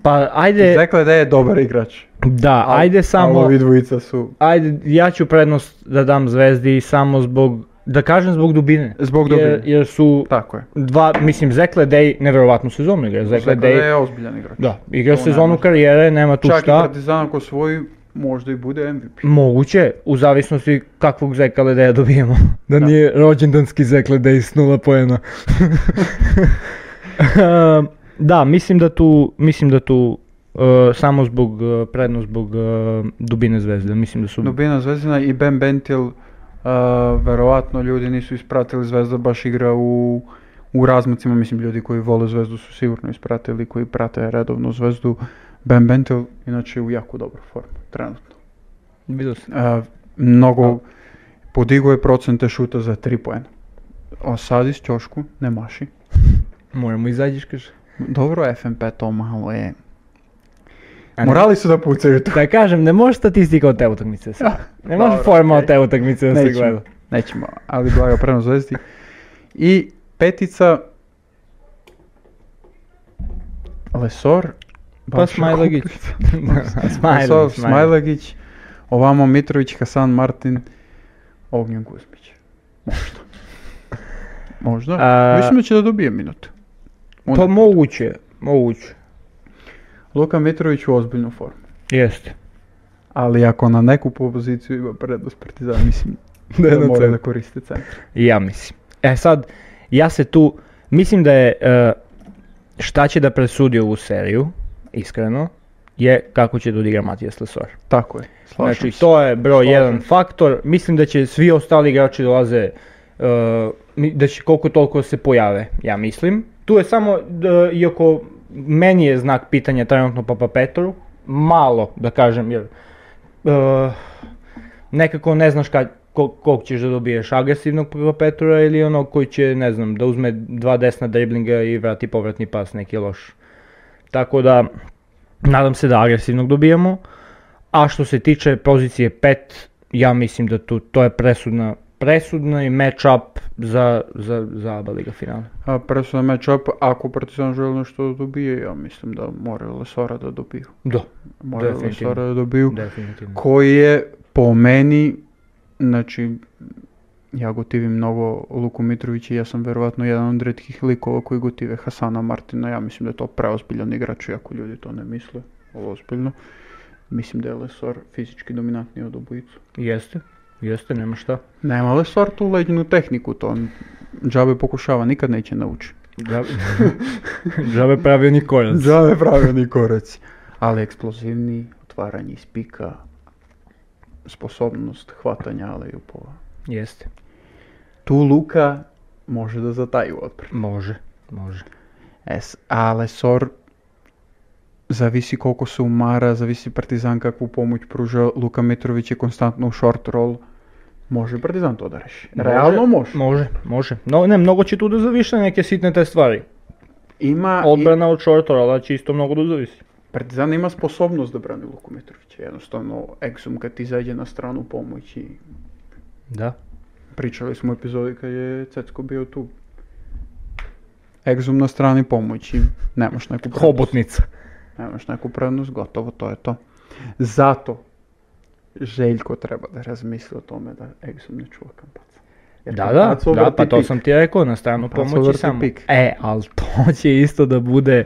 Speaker 2: Pa ajde,
Speaker 1: Dakle, da je dobar igrač.
Speaker 2: da,
Speaker 1: Al-
Speaker 2: ajde samo...
Speaker 1: Ali ovi dvojica su...
Speaker 2: Ajde, ja ću prednost da dam Zvezdi samo zbog, da kažem zbog dubine.
Speaker 1: Zbog
Speaker 2: Jer,
Speaker 1: dubine.
Speaker 2: jer su
Speaker 1: Tako je.
Speaker 2: dva, mislim, Zekle Dej nevjerovatnu sezonu igra.
Speaker 1: Dakle,
Speaker 2: Zekle
Speaker 1: da
Speaker 2: Dej,
Speaker 1: je ozbiljan igrač.
Speaker 2: da, igra
Speaker 1: To ne
Speaker 2: sezonu
Speaker 1: može.
Speaker 2: karijere, nema tu
Speaker 1: Čak i
Speaker 2: šta.
Speaker 1: Partizan ako svoji, možda i bude MVP.
Speaker 2: Moguće, u zavisnosti kakvog Zekle Deja dobijemo. Da,
Speaker 1: Da.
Speaker 2: nije rođendanski Zekle Dej s nula pojena. Ehm, da, mislim da tu, mislim da tu e, samo zbog, e, predno zbog e, dubine zvezde, mislim da su...
Speaker 1: Dubina Zvezdina i Ben Bentil, uh, verovatno ljudi nisu ispratili Zvezda, baš igra u, u razmacima, mislim ljudi koji vole Zvezdu su sigurno ispratili, koji prate redovno Zvezdu. Ben Bentil, inače u jako dobro formu, trenutno.
Speaker 2: Vidio sam.
Speaker 1: Uh, mnogo, podigao je procente šuta za 3 poena. A sad iz Ćošku ne maši.
Speaker 2: Moramo izađeš, kaže.
Speaker 1: Dobro, FMP to malo je.
Speaker 2: A ne-
Speaker 1: Morali su da pucaju tu.
Speaker 2: Da kažem, ne može statistika od te utakmice da se gleda. Ne može
Speaker 1: Dobro,
Speaker 2: forma od
Speaker 1: okej.
Speaker 2: te utakmice da se gleda.
Speaker 1: Nećemo, nećemo, ali blago prema zvezdi. I petica... Lesor...
Speaker 2: Pa
Speaker 1: Balša
Speaker 2: Smajlagić.
Speaker 1: Kuprica. Lesor,
Speaker 2: Smajlagić. Smajlagić.
Speaker 1: Smajlagić, ovamo Mitrović, Hasan Martin, Ognjen Kuzmić. Možda. Možda.
Speaker 2: A-
Speaker 1: Mislim da će da dobije minute. On-
Speaker 2: Pa moguće, moguće.
Speaker 1: Luka Mitrović u ozbiljnu formu.
Speaker 2: Jeste.
Speaker 1: Ali ako na neku poziciju ima prednost Partizan, mislim
Speaker 2: Da
Speaker 1: da,
Speaker 2: je na
Speaker 1: mora da
Speaker 2: centru.
Speaker 1: koristi centar.
Speaker 2: Ja mislim. E sad, ja se tu, mislim da je, e, šta će da presudi ovu seriju, iskreno, je kako će da odigra Matijas Lesor.
Speaker 1: Tako je. Slažem
Speaker 2: Znači,
Speaker 1: se.
Speaker 2: to je broj
Speaker 1: Slažem
Speaker 2: jedan
Speaker 1: se.
Speaker 2: faktor. Mislim da će svi ostali igrači dolaze, uh, mi- da će koliko toliko se pojave, ja mislim. Tu je samo, d- iako meni je znak pitanja trenutno Papa Petru, malo da kažem, jer uh, nekako ne znaš kad, ko- kog ćeš da dobiješ agresivnog Papa Petra ili onog koji će, ne znam, da uzme dva desna driblinga i vrati povratni pas neki loš. Tako da, nadam se da agresivnog dobijamo. A što se tiče pozicije 5, ja mislim da tu, to je presudna, presudna i match-up za, za, za ABA Liga finale.
Speaker 1: A presudan match-up, ako Partizan želi nešto da dobije, ja mislim da moraju Lesora da dobiju.
Speaker 2: Da,
Speaker 1: Moraju
Speaker 2: Definitivno.
Speaker 1: Lesora da dobiju.
Speaker 2: definitivno.
Speaker 1: Koji je po meni, znači, ja gotivim mnogo Luku Mitrovića i ja sam verovatno jedan od redkih likova koji gotive Hasana Martina. Ja mislim da je to preozbiljan igrač, iako ljudi to ne misle, ovo ozbiljno. Mislim da je Lesor fizički dominantniji od obojicu.
Speaker 2: Jeste, jeste, nema šta.
Speaker 1: Nema Lesor tu leđenu tehniku, to on džabe pokušava, nikad neće nauči.
Speaker 2: Džabe, Džabe pravio ni korac.
Speaker 1: Džave pravilni korac. Ali eksplozivni, otvaranje iz pika, sposobnost hvatanja alejupova.
Speaker 2: Jeste,
Speaker 1: Tu Luka može da zataji u odbrani.
Speaker 2: može, može.
Speaker 1: Es, a Lesor zavisi koliko se umara, zavisi Partizan kakvu pomoć pruža. Luka Mitrović je konstantno u short roll. Može Partizan to da reši. Realno može.
Speaker 2: Može, može. No, ne, mnogo će tu da zaviše neke sitne te stvari.
Speaker 1: Ima, i,
Speaker 2: Odbrana od šortora, ali će isto mnogo da zavisi.
Speaker 1: Partizan ima sposobnost da brani Luku Mitrovića. Jednostavno, Exum kad ti izađe na stranu pomoći,
Speaker 2: Da.
Speaker 1: Pričali smo u epizodi kad je Cecko bio tu. Egzum na strani pomoći, nemaš neku prednost.
Speaker 2: Hobotnica.
Speaker 1: Nemaš neku prednost, gotovo, to je to. Zato Željko treba da razmisli o tome da Egzum ne čuva kampaca. Jer
Speaker 2: Da, da,
Speaker 1: Kampaco
Speaker 2: da,
Speaker 1: vrti
Speaker 2: pa to
Speaker 1: pik.
Speaker 2: sam ti rekao, na stranu
Speaker 1: Kampaco
Speaker 2: pomoći
Speaker 1: vrti
Speaker 2: samo.
Speaker 1: pik.
Speaker 2: E, ali to će isto da bude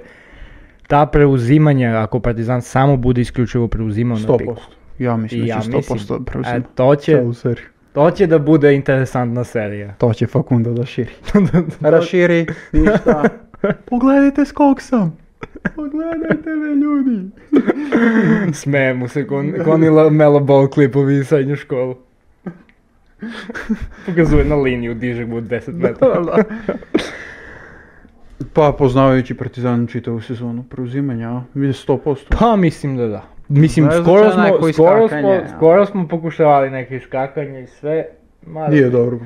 Speaker 2: ta preuzimanja, ako Partizan samo bude isključivo preuzimao na
Speaker 1: 100%.
Speaker 2: piku.
Speaker 1: Ja mislim
Speaker 2: Ja
Speaker 1: da će 100%
Speaker 2: mislim,
Speaker 1: preuzima.
Speaker 2: e, to će,
Speaker 1: Celu seriju.
Speaker 2: to će da bude interesantna serija.
Speaker 1: To će Fakunda da širi. Raširi, ništa. Pogledajte s kog sam. Pogledajte me ljudi.
Speaker 2: Smeje mu se kon, konila Melo Ball klipovi iz srednje škole. Pokazuje na liniju, diže mu od 10 metara.
Speaker 1: Pa poznavajući Partizan čitavu sezonu preuzimanja, mi je 100%.
Speaker 2: Pa mislim da da. Mislim,
Speaker 1: Da, je
Speaker 2: skoro,
Speaker 1: znači
Speaker 2: smo,
Speaker 1: onako
Speaker 2: skoro, smo,
Speaker 1: iskakanje, a?
Speaker 2: skoro smo pokušavali neke iskakanje i sve. Mada,
Speaker 1: Pa, Nije dobro.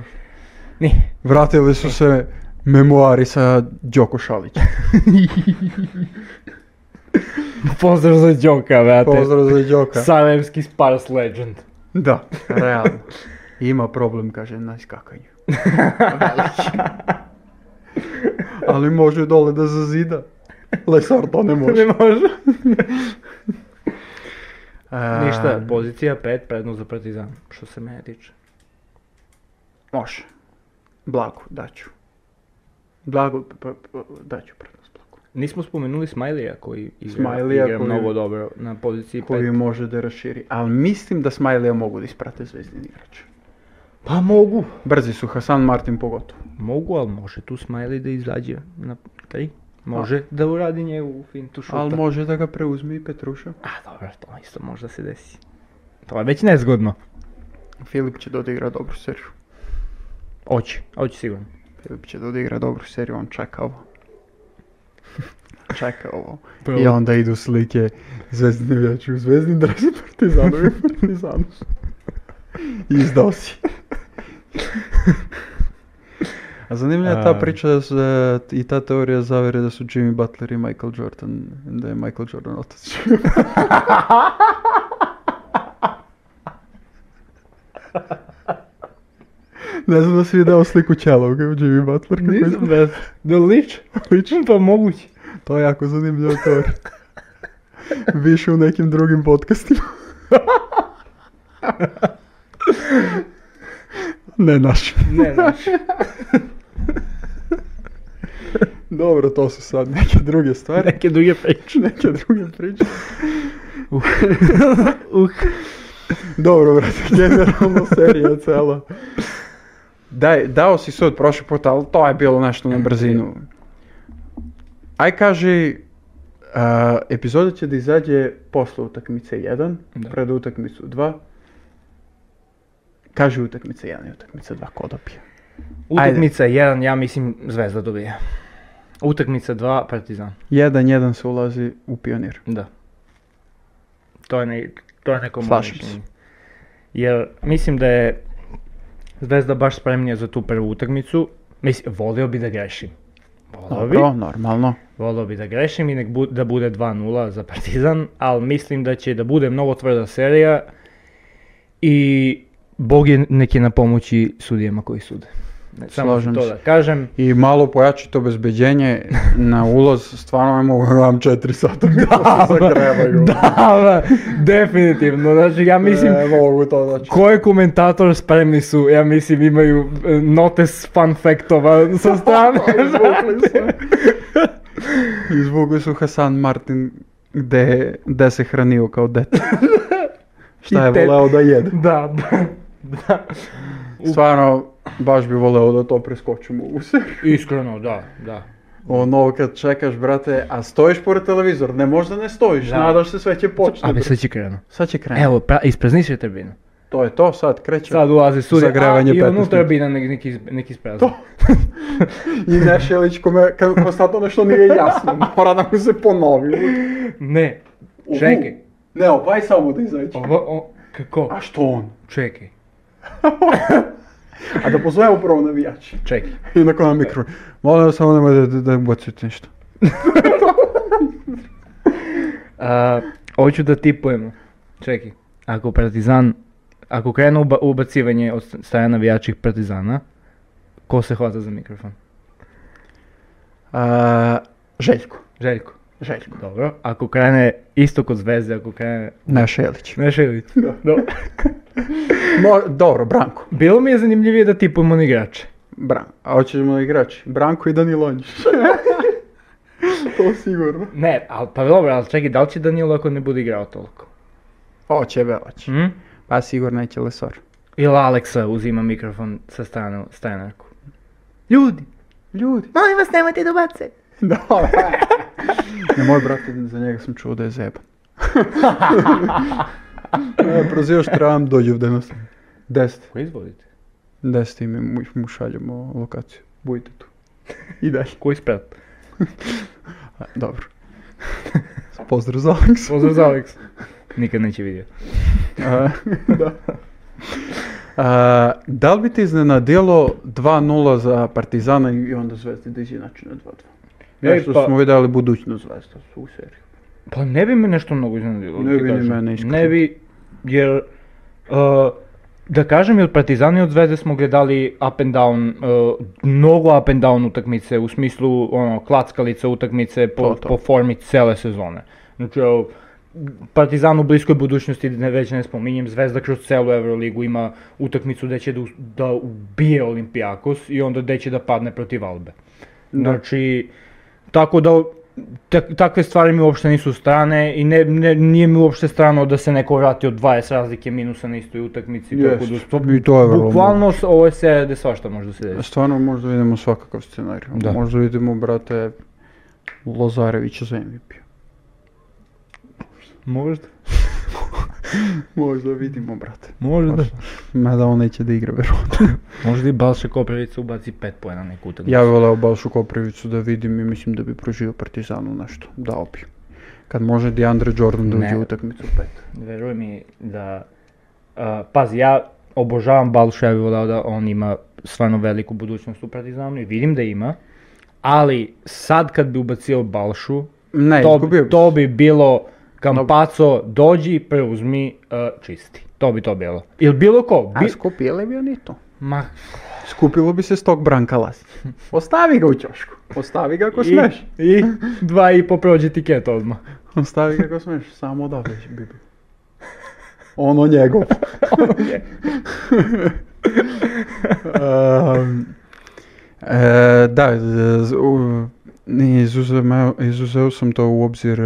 Speaker 2: Nije.
Speaker 1: Vratili su se memoari sa Đoko Šalić.
Speaker 2: Pozdrav za Đoka, brate.
Speaker 1: Pozdrav za Đoka.
Speaker 2: Sarajevski Spars legend.
Speaker 1: Da, realno. Ima problem, kaže, na iskakanju. Ali može dole da zazida. Lesar to ne može.
Speaker 2: može.
Speaker 1: E,
Speaker 2: Ništa, pozicija 5, prednost za Partizan, što se mene tiče.
Speaker 1: Može. Blago, daću. Blago, p- p- daću prednost Blago.
Speaker 2: Nismo spomenuli Smajlija koji igra,
Speaker 1: Smajlija
Speaker 2: igra
Speaker 1: koji-
Speaker 2: mnogo dobro na poziciji 5.
Speaker 1: Koji može da raširi. Ali mislim da Smajlija mogu da isprate zvezdini igrač.
Speaker 2: Pa mogu.
Speaker 1: Brzi su, Hasan Martin pogotovo.
Speaker 2: Mogu, ali može tu Smajli da izađe na 3. Može da uradi njegovu fintu šuta.
Speaker 1: Ali može da ga preuzme i Petruša.
Speaker 2: A dobro, to isto možda se desi. To je već nezgodno.
Speaker 1: Filip će da odigra dobru seriju.
Speaker 2: Oći, oći sigurno.
Speaker 1: Filip će da odigra dobru seriju, on čeka ovo. čeka ovo.
Speaker 2: Prvo-
Speaker 1: I onda idu slike zvezdne vijače u zvezdni dres Partizanovi Partizanu. Izdao si. A zanimljiva je ta
Speaker 2: A.
Speaker 1: priča da su, da, i ta teorija zavere da su Jimmy Butler i Michael Jordan, da je Michael Jordan otac. ne znam da si video sliku Čelovog u Jimmy Butler. kako
Speaker 2: Nisam
Speaker 1: izgleda.
Speaker 2: da... Da lič? Lič? Pa moguće.
Speaker 1: To je jako zanimljiva teorija. Više u nekim drugim podcastima. ne naš.
Speaker 2: Ne, znaš.
Speaker 1: Dobro, to su sad neke druge stvari.
Speaker 2: Neke druge priče.
Speaker 1: Neke druge priče.
Speaker 2: Uh.
Speaker 1: Dobro, brate, generalno serija cela. Daj, dao si sud prošli put, ali to je bilo nešto na brzinu. Aj kaži, a, epizoda će da izađe posle utakmice 1,
Speaker 2: Da.
Speaker 1: pred utakmicu 2. Kaži utakmica 1 i utakmica 2, ko dobije?
Speaker 2: Utakmica 1, ja mislim Zvezda dobija. Utakmica 2, Partizan.
Speaker 1: 1-1 se ulazi u pionir.
Speaker 2: Da. To je, ne, to je neko moje
Speaker 1: Slažem se.
Speaker 2: mišljenje. Jer mislim da je Zvezda baš spremnija za tu prvu utakmicu. Mislim, volio bi da grešim. Volio bi,
Speaker 1: Dobro, normalno.
Speaker 2: volio bi da grešim i nek bu- da bude 2-0 za Partizan, ali mislim da će da bude mnogo tvrda serija i Bog je nek je na pomoći sudijama koji sude. Ne, Samo ću
Speaker 1: Slažem
Speaker 2: to
Speaker 1: se.
Speaker 2: da kažem.
Speaker 1: I malo pojačite obezbeđenje na ulaz, stvarno ne mogu vam 4 sata da, se zagrebaju.
Speaker 2: Da, da, definitivno. Znači, ja mislim,
Speaker 1: Ne mogu to znači.
Speaker 2: koji komentator spremni su, ja mislim, imaju e, notes fun factova sa strane.
Speaker 1: Izvukli su. Izvukli su Hasan Martin gde, gde se hranio kao dete. Šta je
Speaker 2: I te-
Speaker 1: voleo da jede.
Speaker 2: da, da, da.
Speaker 1: Stvarno, baš bi voleo da to preskočimo u seriju.
Speaker 2: Iskreno, da, da.
Speaker 1: Ono kad čekaš, brate, a stojiš pored televizor, ne možda ne stojiš,
Speaker 2: Da.
Speaker 1: nadaš se sve će počne.
Speaker 2: A mi
Speaker 1: brate.
Speaker 2: sad će krenu.
Speaker 1: Sad će krenuti.
Speaker 2: Evo, pra, ispraznit tribinu.
Speaker 1: To je to, sad kreće.
Speaker 2: Sad ulazi sudija, a
Speaker 1: Zagrevanje
Speaker 2: i
Speaker 1: 15
Speaker 2: unutra
Speaker 1: minuta.
Speaker 2: bina nek, neki, iz- neki isprazni.
Speaker 1: I Nešelić kome ka- konstantno nešto nije jasno, mora da mu se ponovi.
Speaker 2: Ne, čekaj.
Speaker 1: Ne, ovaj samo da izađe.
Speaker 2: Ovo, o, kako?
Speaker 1: A što on?
Speaker 2: Čekaj,
Speaker 1: A da pozovemo prvo navijače.
Speaker 2: čekaj.
Speaker 1: I nakon na mikro. Molim vas, samo nemoj da, da, da ubacite ništa.
Speaker 2: A, hoću da tipujemo. Čekaj, ako Partizan, ako krene uba, ubacivanje od strane navijačih Partizana, ko se hvata za mikrofon?
Speaker 1: A, Željko.
Speaker 2: Željko.
Speaker 1: Željko.
Speaker 2: Dobro, ako krene isto kod zvezde, ako krene...
Speaker 1: Nešelić.
Speaker 2: Ne Šilić. Dobro.
Speaker 1: Mo, dobro, Branko.
Speaker 2: Bilo mi je zanimljivije da tipujemo na igrače.
Speaker 1: Bran. A hoćemo igrači. Branko i Danilonjić. to sigurno.
Speaker 2: Ne, ali pa dobro, ali čekaj, da li će Danilo ako ne bude igrao toliko?
Speaker 1: Oće, be, oće.
Speaker 2: Hm?
Speaker 1: Pa sigurno neće Lesor.
Speaker 2: Ili Aleksa uzima mikrofon sa strane Steinarku. Ljudi,
Speaker 1: Ljudi.
Speaker 2: molim vas nemojte da ubacite.
Speaker 1: Da. Ne, moj brat, je- za njega sam čuo da je zeban. ja, E, prozivaš Trump, dođe u danas. Deset.
Speaker 3: Koji izvodite?
Speaker 1: Deset i mi mu, mu šaljemo lokaciju. Budite tu. I dalje.
Speaker 3: Koji sprat?
Speaker 1: A, dobro. Pozdrav za Aleksa.
Speaker 3: Pozdrav za Aleks. Nikad neće vidjeti.
Speaker 1: A, da. A, da li bi te iznenadilo 2-0 za Partizana i onda Zvezda da izjednači na 2-2?
Speaker 2: Ej,
Speaker 1: Ja što
Speaker 2: pa-
Speaker 1: smo vidjeli budućnost Zvezda u seriji.
Speaker 2: Pa ne bi me nešto mnogo iznenadilo. da
Speaker 1: Ne
Speaker 2: ti
Speaker 1: bi ni
Speaker 2: kažem.
Speaker 1: mene, iskreno.
Speaker 2: Ne bi, jer... uh, da kažem i od Partizana i od Zvezde smo gledali up and down, uh, mnogo up and down utakmice, u smislu ono, klackalice utakmice po,
Speaker 1: To, to.
Speaker 2: po formi cele sezone. Znači, evo, Partizan u bliskoj budućnosti, ne, već ne spominjem, Zvezda kroz celu Euroligu ima utakmicu gde će da, us- da ubije Olimpijakos i onda gde će da padne protiv Albe. Znači, tako da tak- takve stvari mi uopšte nisu strane i ne, ne- nije mi uopšte strano da se neko vrati od 20 razlike minusa na istoj utakmici. tako da
Speaker 1: Jest,
Speaker 2: to- ono-
Speaker 1: i to je vrlo
Speaker 2: Bukvalno s- ovo je serija gde svašta može da se desi.
Speaker 1: Stvarno možda vidimo svakakav scenarij.
Speaker 2: Da.
Speaker 1: Možda vidimo, brate, Lozarevića za P-a. MVP.
Speaker 2: Možda,
Speaker 1: Možda vidimo, brate.
Speaker 2: možda.
Speaker 1: Mada on neće da igra, verovatno.
Speaker 2: Možda i Balša Koprivica ubaci 5 pojena na neku utakmicu.
Speaker 1: Ja bih voleo Balšu Koprivicu da vidim i mislim da bi proživio Partizanu nešto. Dao bi. Kad može DeAndre Jordan da
Speaker 2: Ne.
Speaker 1: uđe u utakmicu pet.
Speaker 2: Veruj mi da... a, pazi, ja obožavam Balšu, ja bih volao da on ima stvarno veliku budućnost u Partizanu i vidim da ima. Ali sad kad bi ubacio Balšu,
Speaker 1: Ne,
Speaker 2: to,
Speaker 1: izgubio
Speaker 2: E, bi,
Speaker 1: bi.
Speaker 2: to bi bilo Kampaco, dođi, preuzmi, uh, čisti. To bi to bilo. Ili bilo ko.
Speaker 1: A
Speaker 2: bi-
Speaker 1: skupile bi oni to.
Speaker 2: Ma,
Speaker 1: Skupilo bi se stok Branka Lasića. Ostavi ga u ćošku. Ostavi ga ako
Speaker 2: i,
Speaker 1: smeš.
Speaker 2: I dva i po prođe tiket odmah.
Speaker 1: Ostavi ga ako smeš. Samo da već bi bio. Ono njegov. Ehm, e, da, z- z- u- ni izuzema- izuzeo sam to u obzir e,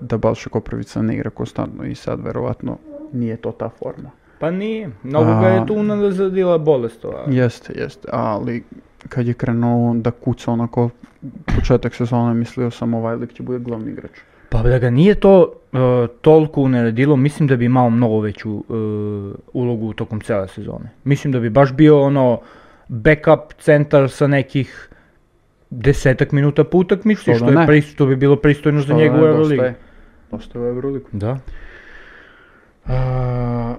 Speaker 1: da Balša Koprivica ne igra konstantno i sad verovatno nije to ta forma.
Speaker 2: Pa nije. Mnogo ga je
Speaker 1: A.
Speaker 2: tu unazadila bolest ova.
Speaker 1: Jeste, jeste, ali kad je krenuo da kuca onako početak sezone mislio sam ovaj lik će bude glavni igrač.
Speaker 2: Pa da ga nije to e, toliko unaredilo, mislim da bi imao mnogo veću e, ulogu tokom cele sezone. Mislim da bi baš bio ono backup centar sa nekih desetak minuta po utakmici,
Speaker 1: Što
Speaker 2: što,
Speaker 1: da
Speaker 2: je
Speaker 1: ne.
Speaker 2: pris- što bi bilo pristojno za
Speaker 1: Što
Speaker 2: njegovu
Speaker 1: ne,
Speaker 2: Euroligu.
Speaker 1: Dosta je, dosta je u Euroligu.
Speaker 2: Da.
Speaker 1: A,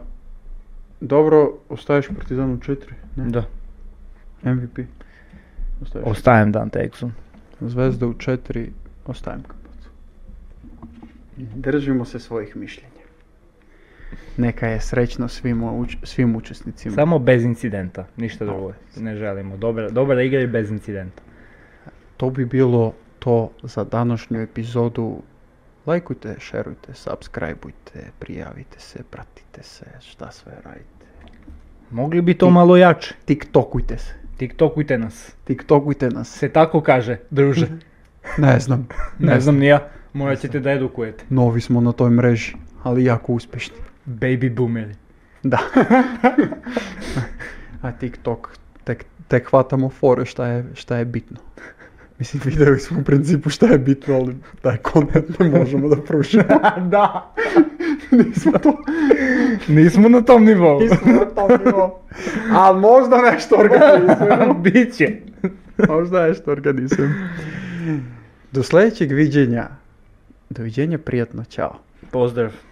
Speaker 1: dobro, ostaješ Partizanu 4, ne?
Speaker 2: Da.
Speaker 1: MVP. Ostaješ.
Speaker 2: Ostajem Dante Exum.
Speaker 1: Zvezda u četiri, ostajem kapacu. Držimo se svojih mišljenja. Neka je srećno svim, uč- svim učesnicima.
Speaker 2: Samo bez incidenta, ništa drugo. Ne želimo. Dobra, dobra igra i bez incidenta.
Speaker 1: To bi bilo to za današnju epizodu. Lajkujte, šerujte, subscribeujte, prijavite se, pratite se, šta sve radite.
Speaker 2: Mogli bi to malo jače.
Speaker 1: Tiktokujte se.
Speaker 2: TikTokujte nas.
Speaker 1: Tiktokujte nas.
Speaker 2: Se tako kaže, druže.
Speaker 1: Ne znam.
Speaker 2: Ne znam ni ja. Morat ćete da edukujete.
Speaker 1: Novi smo na toj mreži, ali jako uspješni.
Speaker 2: Baby boomeri.
Speaker 1: Da. A TikTok, tek, tek hvatamo fore šta je, šta je bitno. Mislim, vidjeli smo u principu šta je bitno, ali taj kontent ne možemo da pružimo.
Speaker 2: da.
Speaker 1: Nismo to,
Speaker 2: Nismo na tom nivou.
Speaker 1: nismo na tom nivou. A možda nešto organizujemo.
Speaker 2: Biće.
Speaker 1: možda nešto organizujemo. Do sljedećeg viđenja. Doviđenja, prijatno, čao.
Speaker 2: Pozdrav.